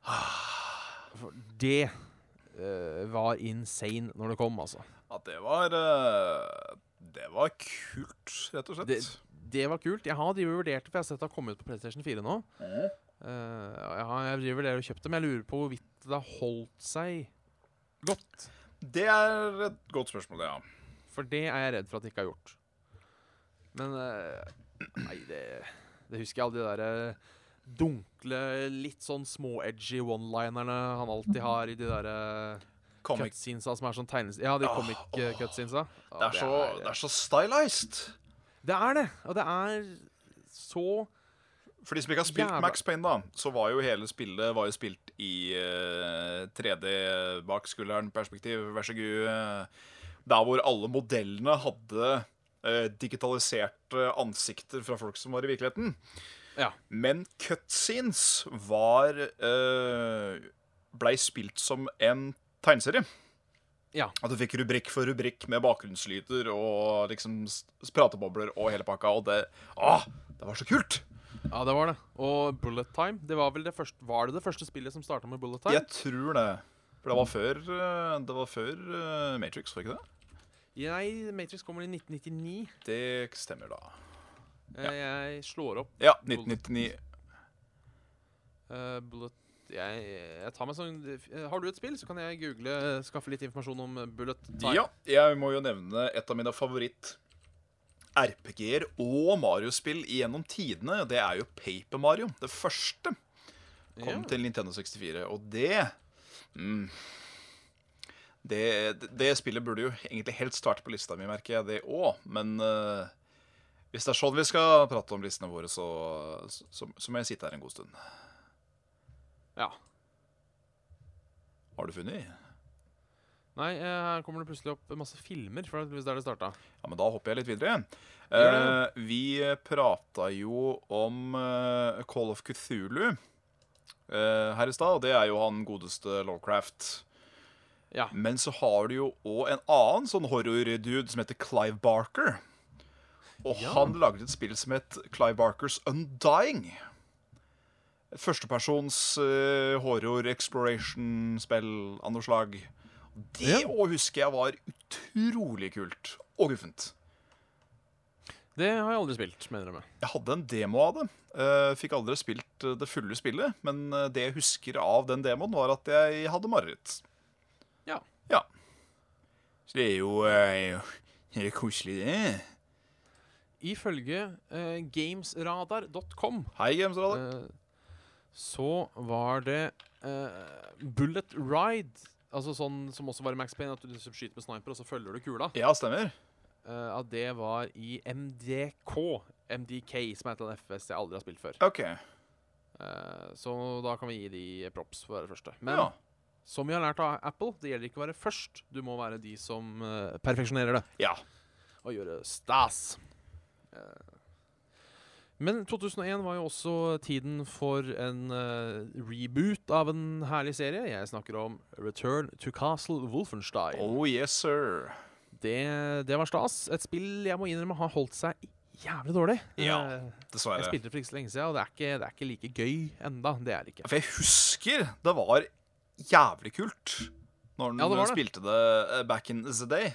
B: Ah, For det øh, var insane når det kom, altså.
C: At det var eh, Det var kult, rett og slett.
B: Det, det var kult. Jeg har drevet og vurdert det, for jeg har sett det har kommet ut på PlayStation 4 nå.
C: Mhm.
B: Eh, og jeg, har, jeg driver det og kjøpt det, men jeg lurer på hvorvidt det har holdt seg godt.
C: Det er et godt spørsmål, ja.
B: For det er jeg redd for at det ikke har gjort. Men eh, Nei, det, det husker jeg alle de derre dunkle, litt sånn små-edgy one-linerne han alltid har i de derre
C: Comic.
B: cutscenesa som er sånn tegnes... Ja, de eh,
C: Åh, åh.
B: comic-cutscenesa.
C: Det er, så, det er så stylized.
B: det er det! Og det er så
C: For de som ikke har spilt
B: Jævla-
C: Max Payne, da, så var jo hele spillet var jo spilt i eh, 3D bak skulderen-perspektiv. Vær så god. eh, der hvor alle modellene hadde eh, digitaliserte ansikter fra folk som var i virkeligheten.
B: Ja.
C: Men cutscenes var eh, Blei spilt som en tegneserie.
B: Ja.
C: At du fikk rubrikk for rubrikk med bakgrunnslyder og liksom s- pratebobler og hele pakka, og det Åh! Det var så kult!
B: Ja, det var det. Og Bullet Time. Det var vel det første, var det det første spillet som starta med Bullet Time?
C: Jeg tror det. For det var før, eh, det var før eh, Matrix, var ikke det?
B: Nei, Matrix kommer i 1999.
C: Det stemmer, da.
B: Eh, Jeg slår opp
C: Ja, 1999.
B: eh, Bullet jeg, jeg tar meg sånn eh, Har du et spill, så kan jeg google eh, skaffe litt informasjon om eh, Bullet Time.
C: Ja, jeg må jo nevne et av mine favoritt RPG-er og Mario-spill gjennom tidene. Det er jo Paper Mario. Det første kom
B: Ja.
C: til Nintendo 64, og det mm, det, det spillet burde jo egentlig helst vært på lista mi, merker jeg det òg. Men eh, hvis det er sånn vi skal prate om listene våre, så, så, så må jeg sitte her en god stund.
B: Ja.
C: Har du funnet?
B: Nei, eh, her kommer det plutselig opp masse filmer. For det er der det starta.
C: Ja, men da hopper jeg litt videre.
B: Gjør det.
C: Eh, vi prata jo om eh, Call of Cthulhu eh, her i stad, og det er jo han godeste Lovecraft.
B: Ja.
C: Men så har du jo òg en annen sånn horror-dude som heter Clive Barker. Og han lagde et spill som het Clive Barkers Undying. Et Førstepersons eh, horror-exploration-spill av noe slag. Det
B: Ja.
C: òg husker jeg var utrolig kult og guffent.
B: Det har jeg aldri spilt, mener jeg med.
C: Jeg hadde en demo av det. Eh, fikk aldri spilt eh, det fulle spillet, men eh, det jeg husker av den demoen, var at jeg hadde mareritt.
B: Ja.
C: Ja. Så det er jo eh, Det er koselig, det.
B: Ifølge eh, gamesradar.com
C: Hei, Gamesradar.
B: eh, så var det eh, Bullet Ride, altså sånn som også var i Max Payne, at du liksom skyter med sniper, og så følger du kula.
C: ja, stemmer.
B: Eh, at det var i MDK. MDK, som er et eller annet FS jeg aldri har spilt før.
C: OK.
B: Eh, så da kan vi gi de props for å være første. Men
C: Ja.
B: som vi har lært av Apple, det gjelder ikke å være først. Du må være de som eh, perfeksjonerer det.
C: ja.
B: og gjøre stas. Eh, Men 2001 var jo også tiden for en eh, reboot av en herlig serie. Jeg snakker om Return to Castle Wolfenstein.
C: Oh yes, sir.
B: Det, det var stas. Et spill jeg må innrømme har holdt seg jævlig dårlig.
C: Ja,
B: Eh, jeg
C: Dessverre.
B: spilte det for ikke så lenge siden, og det er ikke, det er ikke like gøy enda. Det er det ikke.
C: For jeg husker det var jævlig kult når den
B: Ja, det var det.
C: spilte det eh, back in the day.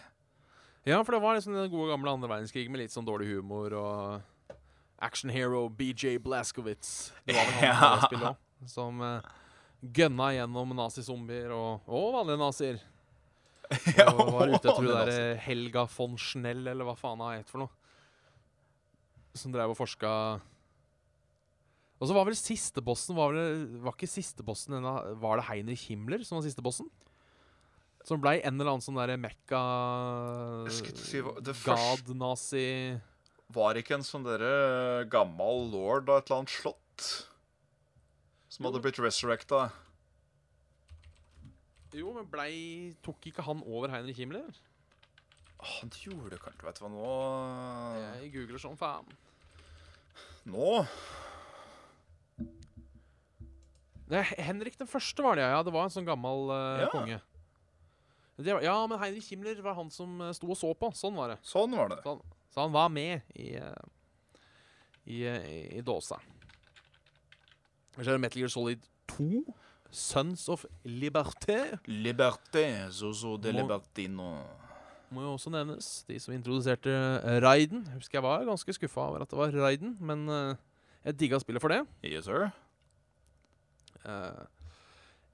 B: Ja, for det var liksom den gode gamle andre verdenskrig med litt sånn dårlig humor og action hero BJ Blazkowicz. Det var vel han
C: Ja.
B: i det spillet også, som uh, gønna gjennom nazizombier og, og vanlige nazier. Og var ute etter hun
C: det
B: der
C: var-
B: eh, Helga von Schnell, eller hva faen hun het for noe. Som drev og forska Og så var vel siste bossen Var, vel, var ikke siste bossen en av- Var det Heinrich Himmler som var siste bossen? Som blei en eller annen sånn derre mekka
C: Jeg skulle til å si hva- det første-
B: God-nazi
C: Var ikke en sånn dere gammel lord av et eller annet slott? Som hadde blitt resurrecta?
B: Jo, men blei Tok ikke han over Heinrich Himmler?
C: Åh, Han gjorde det kanskje, vet du hva nå
B: Jeg googler som faen.
C: Nå?
B: Det, er Henrik den første var det, ja. Det var en sånn gammel eh,
C: Ja.
B: konge. Det var, ja, men Heinrich Himmler var han som eh, sto og så på. Sånn var det.
C: Sånn var det.
B: Så han var med i, eh, i, eh, i dåsa. Og Så er det Metal Gear Solid 2. Sons of Liberté
C: Liberté, zozo de
B: Må-
C: libertino.
B: må jo også nevnes. De som introduserte eh, Raiden. Husker jeg var ganske skuffa over at det var Raiden, men eh, jeg digga spillet for det.
C: Yes, sir.
B: Eh,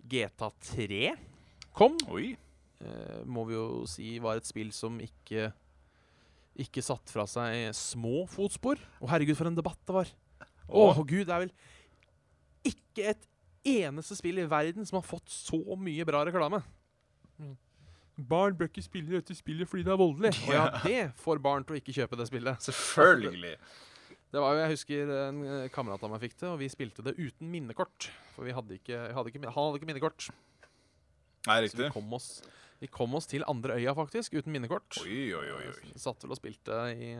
B: GTA3 kom.
C: Oi.
B: eh, må vi jo si var et spill som ikke ikke satt fra seg små fotspor. Å herregud, for en debatt det var. Å gud, det er vel ikke et eneste spill i verden som har fått så mye bra reklame. Mm. Barn bør ikke spille dette spillet fordi det er voldelig. Og ja, det får barn til å ikke kjøpe det spillet.
C: Selvfølgelig.
B: Det var jo, Jeg husker en eh, kamerat av meg fikk det, og vi spilte det uten minnekort. For vi hadde ikke, hadde ikke, min- han hadde ikke minnekort. Så
C: Nei,
B: vi
C: riktig.
B: kom oss, vi kom oss til andre øya, faktisk, uten minnekort.
C: Oi, oi, oi. oi.
B: Vi Satt vel og spilte i,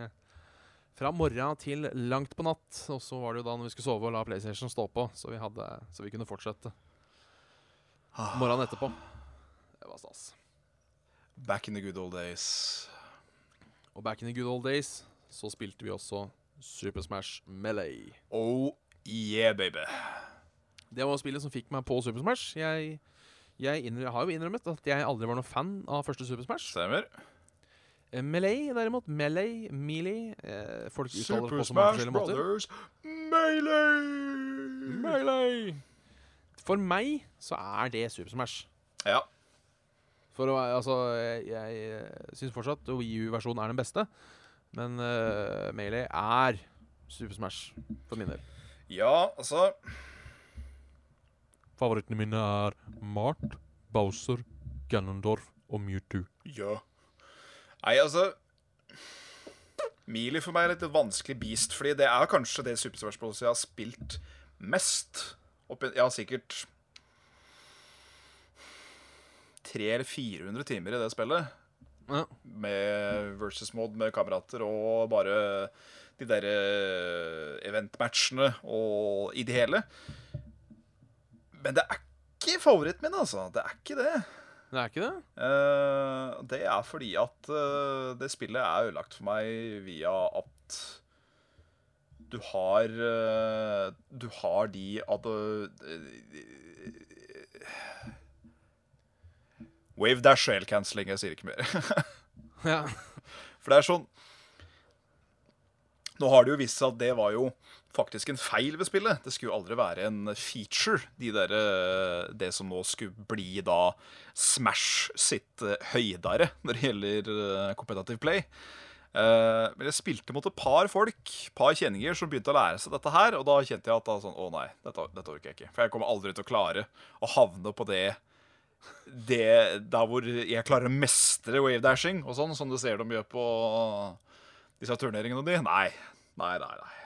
B: fra morgen til langt på natt. Og så var det jo da når vi skulle sove og la PlayStation stå på, så vi, hadde, så vi kunne fortsette
C: Ah,
B: morgenen etterpå. Det var stas.
C: Back in the good old days.
B: Og back in the good old days så spilte vi også Super Smash Melee.
C: Oh yeah, baby.
B: Det var spillet som fikk meg på Super Smash. Jeg, jeg, innrø- jeg har jo innrømmet at jeg aldri var noen fan av første Super Smash.
C: Stemmer.
B: Eh, Melee, derimot. Melee, Melee eh, Folk uttaler det på
C: Super
B: så mange
C: Smash
B: forskjellige måter.
C: Brothers Melee!
B: Melee! For meg så er det Super Smash.
C: Ja.
B: For å, være- altså, jeg, jeg syns fortsatt Wii U-versjonen er den beste, men eh, Melee er Super Smash for min del.
C: Ja, altså
B: Favorittene mine er Mart, Bowser, Ganondorf og Mewtwo.
C: Ja. Nei, altså Melee for meg er litt et vanskelig beast, fordi det er kanskje det Super Smash Bros. jeg har spilt mest. Oppi, jeg har sikkert 300 eller 400 timer i det spillet.
B: Ja.
C: Med versus mode med kamerater og bare de der eh, eventmatchene og i det hele. Men det er ikke favoritten min, altså. Det er ikke det.
B: Det er ikke det?
C: Eh, det er fordi at eh, det spillet er ødelagt for meg via at du har eh, Du har de at eh, Wave dash shell cancelling, jeg sier ikke mer.
B: Ja.
C: For det er sånn Nå har det jo vist seg at det var jo faktisk en feil ved spillet. Det skulle jo aldri være en feature, de der, eh, det som nå skulle bli da Smash sitt eh, høydere når det gjelder eh, competitive play. Eh, men jeg spilte mot et par folk, par kjenninger, som begynte å lære seg dette her. Og da kjente jeg at da sånn, å nei, dette, dette orker jeg ikke. For jeg kommer aldri til å klare å havne på det det der hvor jeg klarer å mestre wavedashing og sånn, som du ser de gjør på disse turneringene de. Nei. Nei, nei, nei.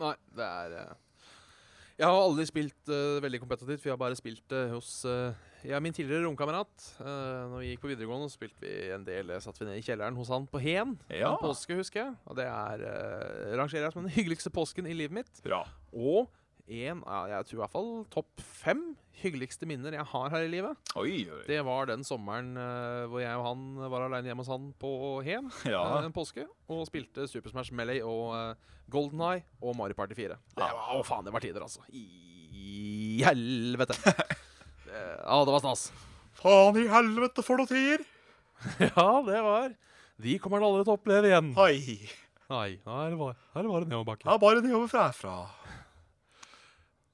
B: Nei, det er eh, Jeg har aldri spilt eh, veldig kompetitivt, for jeg har bare spilt eh, hos eh, jeg og min tidligere romkamerat. Uh, når vi gikk på videregående, så spilte vi en del eh, satt vi ned i kjelleren hos han på Hen.
C: Ja.
B: En påske, husker jeg. Og det er eh, rangerer jeg som den hyggeligste påsken i livet mitt.
C: Bra.
B: Og en av jeg tror i hvert fall topp fem hyggeligste minner jeg har her i livet.
C: Oi, oi.
B: Det var den sommeren eh, hvor jeg og han var aleine hjemme hos han på Hen
C: ja.
B: eh, en påske og spilte Super Smash Melee og Golden High og Mario Party 4. Det
C: Ja.
B: var, å faen, det var tider, altså. I helvete. Det- Ja, det var stas.
C: Faen i helvete for noen tider!
B: Ja, det var De kommer han aldri til å oppleve igjen.
C: Hei.
B: Nei, her var, her var det nedoverbakke.
C: Det er bare nedover frafra.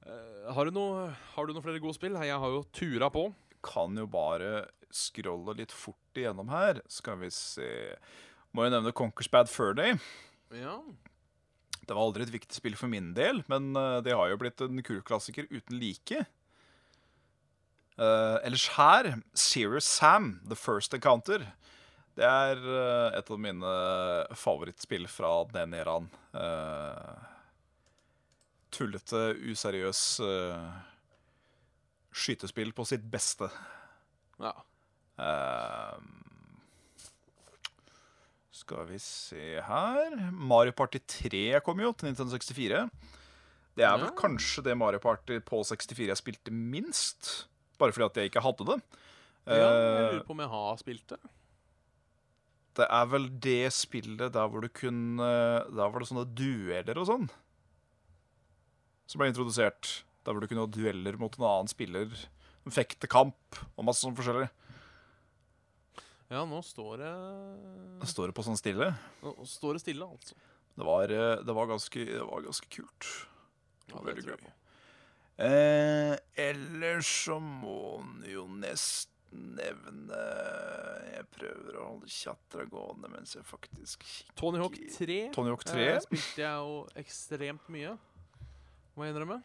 B: Eh, Har, du noe- har du noen flere gode spill? Jeg har jo tura på.
C: Kan jo bare scrolle litt fort igjennom her. Skal vi se Må jo nevne Conquers Bad Furday.
B: Ja.
C: Det var aldri et viktig spill for min del, men eh, det har jo blitt en kulklassiker uten like. Eh, ellers her, Serious Sam, The First Encounter. Det er eh, et av mine favorittspill fra den eraen. Eh, tullete, useriøs eh, skytespill på sitt beste.
B: ja.
C: Ehm, skal vi se her Mario Party 3 kom jo til Nintendo 64. Det er vel
B: Ja.
C: kanskje det Mario Party på 64 jeg spilte minst. Bare fordi at jeg ikke hadde det.
B: ja jeg
C: Eh,
B: lurer på om jeg har spilt det.
C: det er vel det spillet der hvor du kunne Der var det sånne dueller og sånn. Som ble introdusert. Der hvor du kunne ha dueller mot en annen spiller. Fektekamp og masse sånn forskjellig.
B: Ja, nå står det
C: Står det på sånn stille?
B: Nå står det stille, altså.
C: Det var, eh, det var, ganske, det var ganske kult. Det
B: Ja,
C: var
B: det
C: veldig
B: tror jeg
C: gøy. Eh, ellers så må en jo nesten nevne Jeg prøver å holde chatta gående mens jeg faktisk kikker.
B: Tony Hawk 3.
C: Tony Hawk
B: Eh,
C: 3.
B: spilte jeg jo ekstremt mye, må jeg innrømme.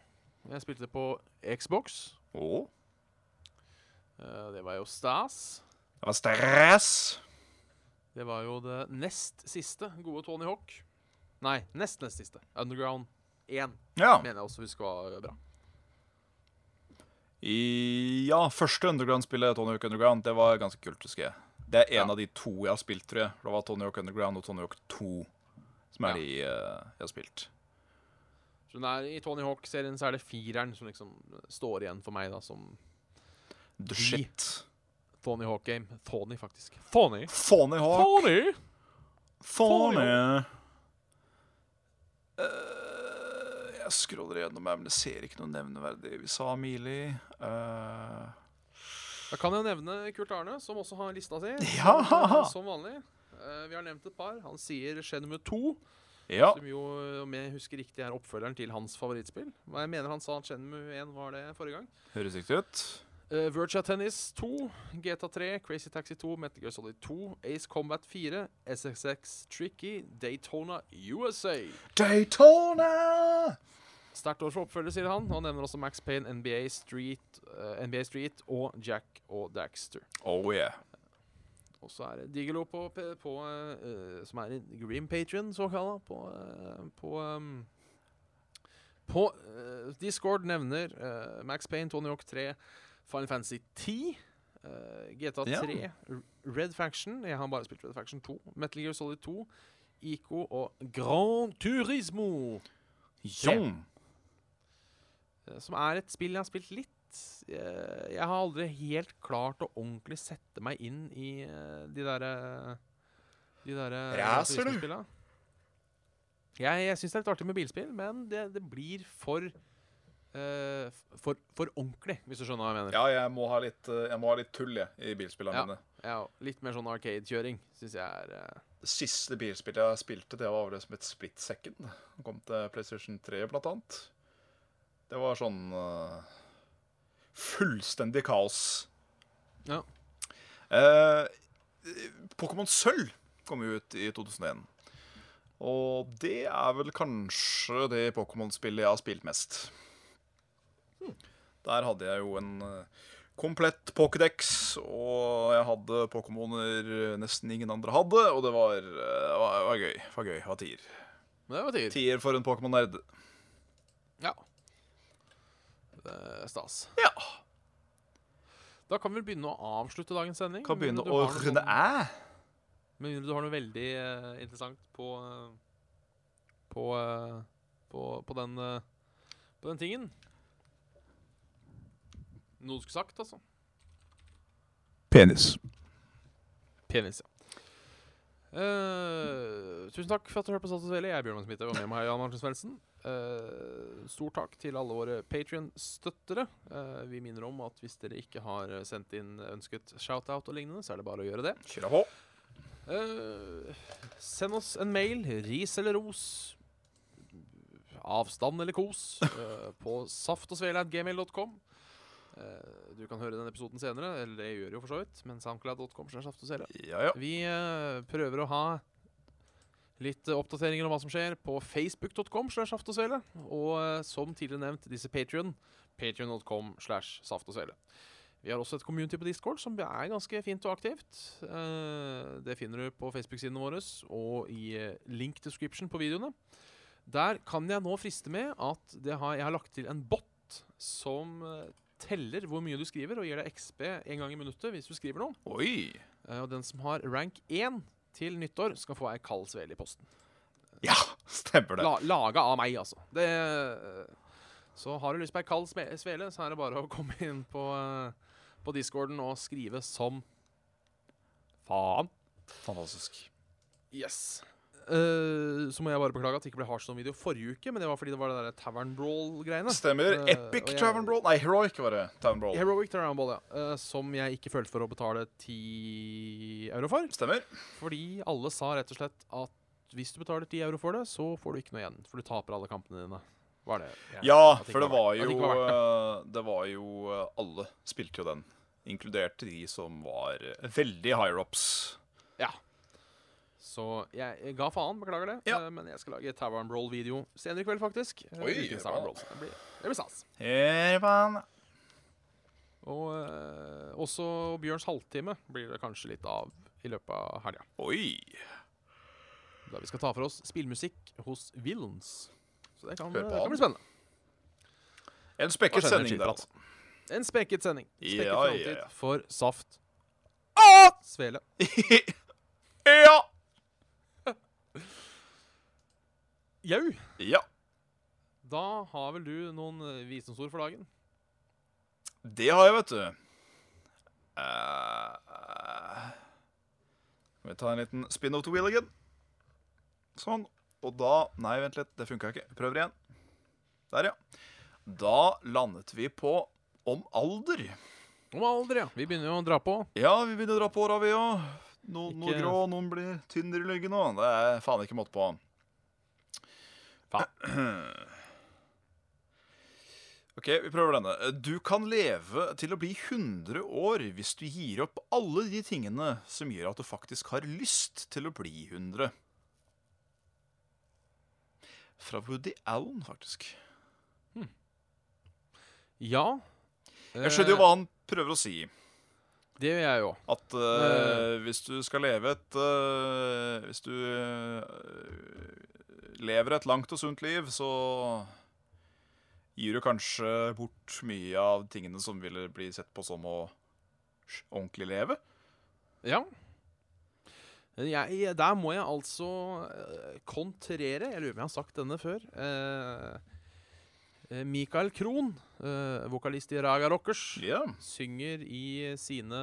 B: Jeg spilte det på Xbox.
C: Å,
B: Eh, Det var jo stas.
C: det var stress!
B: Det var jo det nest siste gode Tony Hawk. Nei, nest nest siste. Underground 1
C: Ja.
B: mener jeg også husker var eh, bra.
C: I, ja, første Underground-spillet, Tony Hawk Underground, det var ganske kult, husker jeg. Det er en
B: Ja.
C: av de to jeg har spilt, tror jeg. Det var Tony Hawk Underground og Tony Hawk 2 som
B: Ja.
C: er de eh, jeg har spilt.
B: Så den er, I Tony Hawk-serien så er det fireren som liksom står igjen for meg da, som
C: The shit.
B: Tony Hawk-game. Tony, faktisk. Tony!
C: Tony Hawk.
B: Tony!
C: Faen, jeg. Eh, jeg scroller gjennom her, men jeg ser ikke noe nevneverdig. Vi sa Mili. eh,
B: Da kan jeg nevne Kurt Arne, som også har lista si.
C: Ja!
B: Som, eh, som vanlig. Eh, vi har nevnt et par. Han sier Shenmue 2,
C: ja.
B: som jo, om jeg husker riktig, er oppfølgeren til hans favorittspill. Men Jeg mener han sa at Shenmue 1 var det forrige gang.
C: Høres riktig ut.
B: Eh, Virtua Tennis 2, GTA 3, Crazy Taxi 2, Metal Gear Solid 2, Ace Combat 4, SXX Tricky, Daytona USA.
C: Daytona!
B: Sterkt år for oppfølger, sier han. Han nevner også Max Payne, NBA Street, eh, NBA Street og Jack og Daxter.
C: Oh yeah.
B: Og så er det Digelo på, P- på eh, eh, som er en Green Patrion, såkalla, på eh, På, ehm, på eh, Discord nevner eh, Max Payne, Tony Hawk 3, Final Fantasy 10, eh, GTA
C: Ja.
B: 3, R- Red Faction Jeg har bare spilt Red Faction 2. Metal Gear Solid 2, ICO og Grand Turismo.
C: Jong.
B: eh, som er et spill jeg har spilt litt. Eh, Jeg har aldri helt klart å ordentlig sette meg inn i eh, de derre De derre
C: Racer, du.
B: turismespillene. Jeg, jeg syns det er litt artig med bilspill, men det, det blir for, eh, f- for For ordentlig, hvis du skjønner hva jeg mener.
C: Ja, jeg må ha litt, eh, jeg må ha litt tull jeg, i bilspillene
B: Ja.
C: mine.
B: Ja, litt mer sånn arcade-kjøring syns jeg er eh,
C: Det siste bilspillet jeg spilte, det var vel som et split second. Det kom til PlayStation 3, blant annet. Det var sånn eh, Fullstendig kaos.
B: Ja.
C: Eh, Pokémon Sølv kom jo ut i 2001. Og det er vel kanskje det Pokémon-spillet jeg har spilt mest.
B: Hmm.
C: Der hadde jeg jo en eh, komplett Pokédex, og jeg hadde Pokémoner nesten ingen andre hadde, og det var, eh, det var, det var gøy. Det var gøy. Det var tier.
B: Men det var tider.
C: Tier for en Pokémon-nerd.
B: Ja. Det er stas.
C: Ja.
B: Da kan vi vel begynne å avslutte dagens sending.
C: Kan
B: med mindre
C: begynne
B: du
C: å
B: har noe
C: runde
B: sånn-
C: æ.
B: Med mindre du har noe veldig eh, interessant på eh, på, eh, på på den eh, på den tingen. Noe du skulle sagt, altså.
C: Penis.
B: Penis, ja. Eh, tusen takk for at du hørte på Status Veli. Jeg er Bjørn Magnus Midthaug, og med meg er Jan Martin Svendsen. Eh, stor takk til alle våre Patrion-støttere. Eh, vi minner om at hvis dere ikke har eh, sendt inn ønsket shout-out og lignende, så er det bare å gjøre det.
C: Kjør på.
B: Eh, send oss en mail, ris eller ros, avstand eller kos, eh, på saftogsvele.gmail.com. Eh, du kan høre den episoden senere, eller det gjør du jo for så vidt, men soundcloud.com slash saftogsvele.
C: Ja, ja.
B: Vi eh, prøver å ha litt eh, oppdateringer om hva som skjer på facebook.com slash saft og svele. Og eh, som tidligere nevnt, disse Patrion. Patrion.com slash saft og svele. Vi har også et community på Discord som er ganske fint og aktivt. Eh, Det finner du på Facebook-sidene våre og i eh, link description på videoene. Der kan jeg nå friste med at det har, jeg har lagt til en bot som eh, teller hvor mye du skriver, og gir deg XB en gang i minuttet hvis du skriver noe.
C: Oi.
B: Eh, Og den som har rank 1 til nyttår, skal få ei kald svele i posten.
C: Ja, stemmer det.
B: La, laga av meg, altså. Det, eh, så har du lyst på ei kald sme- svele, så er det bare å komme inn på, eh, på discorden og skrive som faen.
C: Fantastisk.
B: Yes. Eh, så må jeg bare beklage at det ikke ble Hardstone-video forrige uke, men det var fordi det var det der Tavern Brawl-greiene.
C: Stemmer.
B: Eh, og
C: Epic
B: jeg-
C: Tavern Brawl. Nei, Heroic var det. Tavern Brawl.
B: Heroic Tavern Brawl, ja. Eh, som jeg ikke følte for å betale 10 euro for.
C: Stemmer.
B: Fordi alle sa rett og slett at hvis du betaler 10 euro for det, så får du ikke noe igjen. For du taper alle kampene dine. Var det jeg-
C: Ja,
B: at ikke
C: for det var
B: verdt- at
C: jo
B: ikke var verdt det.
C: eh, Det var jo eh, Alle spilte jo den. Inkludert de som var eh, veldig higher ups.
B: Ja. Så jeg, jeg ga faen, beklager det.
C: Ja.
B: eh, Men jeg skal lage Tavern Brawl-video senere i kveld, faktisk. eh,
C: Oi,
B: ukens
C: bra.
B: Tavern Brawl. Så Det blir, det blir stas. Og eh, også Bjørns halvtime blir det kanskje litt av i løpet av helga.
C: Oi.
B: Da vi skal ta for oss spillmusikk hos Villains. Så det kan, eh,
C: Hør på
B: det kan
C: han.
B: bli spennende.
C: En spekket
B: Hva skjer med
C: sending der,
B: skilpadden?
C: altså.
B: En spekket sending. Spekket
C: Ja, ja,
B: framtid
C: ja.
B: for Saft. Svele.
C: altså. Ah, ja.
B: Jau.
C: ja.
B: Da har vel du noen eh, visdomsord for dagen?
C: Det har jeg, vet du. Eh, Skal vi ta en liten spin of the wheel again? Sånn. Og da Nei, vent litt. Det funka ikke. Prøver igjen. Der, ja. Da landet vi på om alder.
B: Om alder, ja. Vi begynner jo å dra på.
C: Ja, vi begynner å dra på åra, vi òg. Noen, noen
B: Ikke-
C: grå, noen blir tynnere i leggen òg. Det er faen ikke måte på. OK, vi prøver denne. Du kan leve til å bli 100 år hvis du gir opp alle de tingene som gjør at du faktisk har lyst til å bli 100. Fra Woody Allen, faktisk.
B: Ja. Eh,
C: Jeg skjønner jo hva han prøver å si.
B: Det gjør jeg jo.
C: At eh, hvis du skal leve et eh, Hvis du eh, lever et langt og sunt liv, så gir du kanskje bort mye av tingene som ville bli sett på som å sj- ordentlig leve.
B: Ja. Jeg, jeg- der må jeg altså eh, kontrere. Jeg lurer på om jeg har sagt denne før. Eh, Eh, Mikael Krohn, eh, vokalist i Raga Rockers,
C: Ja.
B: synger i sine,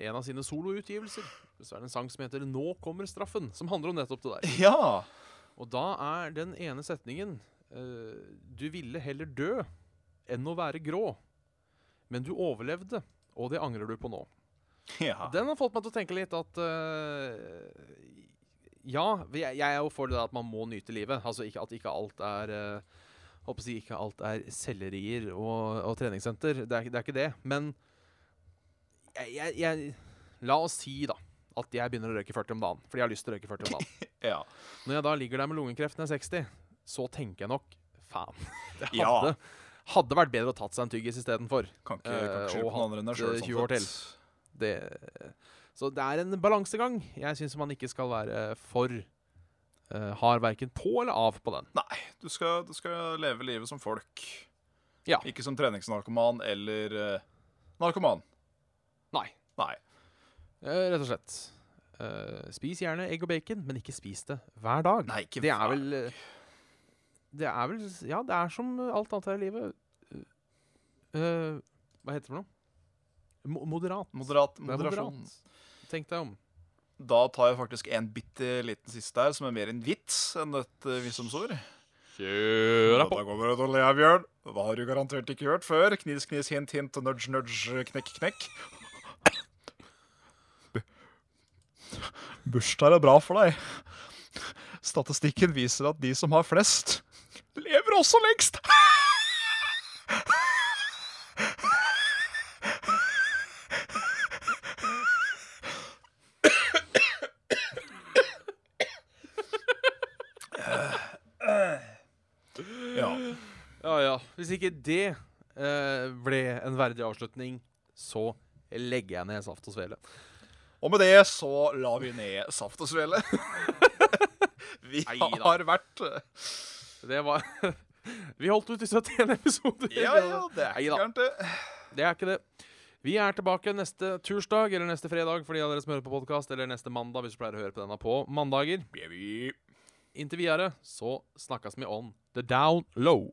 B: en av sine soloutgivelser. Så er det en sang som heter 'Nå kommer straffen', som handler om nettopp det der.
C: ja.
B: Og da er den ene setningen eh, Du ville heller dø enn å være grå. Men du overlevde, og det angrer du på nå.
C: Ja.
B: Den har fått meg til å tenke litt at eh, Ja, jeg, jeg er jo for det at man må nyte livet. Altså ikke, at ikke alt er eh, Håper å si ikke alt er sellerier og, og treningssenter. Det er, det er ikke det. Men jeg, jeg, jeg La oss si, da, at jeg begynner å røyke 40 om dagen. Fordi jeg har lyst til å røyke 40 om dagen.
C: ja.
B: Når jeg da ligger der med lungekreft når jeg er 60, så tenker jeg nok Faen. Det hadde,
C: Ja.
B: hadde vært bedre å tatt seg en tyggis istedenfor.
C: Kan ikke, kan
B: Eh,
C: ikke skylde
B: og
C: på noen andre enn deg sånn sjøl.
B: hatt, eh, 20 år Det, så det er en balansegang. Jeg syns man ikke skal være for eh, hard verken på eller av på den.
C: Nei, du skal, du skal leve livet som folk.
B: Ja.
C: Ikke som treningsnarkoman eller eh, narkoman.
B: Nei,
C: Nei.
B: eh, rett og slett. Eh, spis gjerne egg og bacon, men ikke spis det hver dag.
C: Nei, ikke
B: det er
C: hver
B: vel eh, Det er vel Ja, det er som alt annet her i livet. Eh, eh, hva heter det for noe? Mo- Moderat.
C: Moderat,
B: Det er
C: moderasjon.
B: moderat. Tenk deg om.
C: Da tar jeg faktisk en bitte liten siste her, som er mer en vits enn et eh, visdomsord.
A: Kjøra på.
C: Dette går bra til å le av, Bjørn. Hva har du garantert ikke hørt før? Knis, knis, hint, hint, nudge, nudge, knekk, knekk. Bu- Bursdager er bra for deg. Statistikken viser at de som har flest, lever også lengst. Ja.
B: Ja, ja. Hvis ikke det eh, ble en verdig avslutning, så legger jeg ned saft og svele.
C: Og med det så la vi ned saft og svele. Vi
B: Neida.
C: har vært
B: Det var Vi holdt ut i 71 episoder.
C: Ja, ja, det er ikke
B: Neida,
C: gærent, det.
B: Det er ikke det. Vi er tilbake neste tursdag eller neste fredag for de av dere som hører på podkast, eller neste mandag hvis du pleier å høre på denne på mandager.
C: Baby.
B: Inntil videre så snakkes vi on the down low.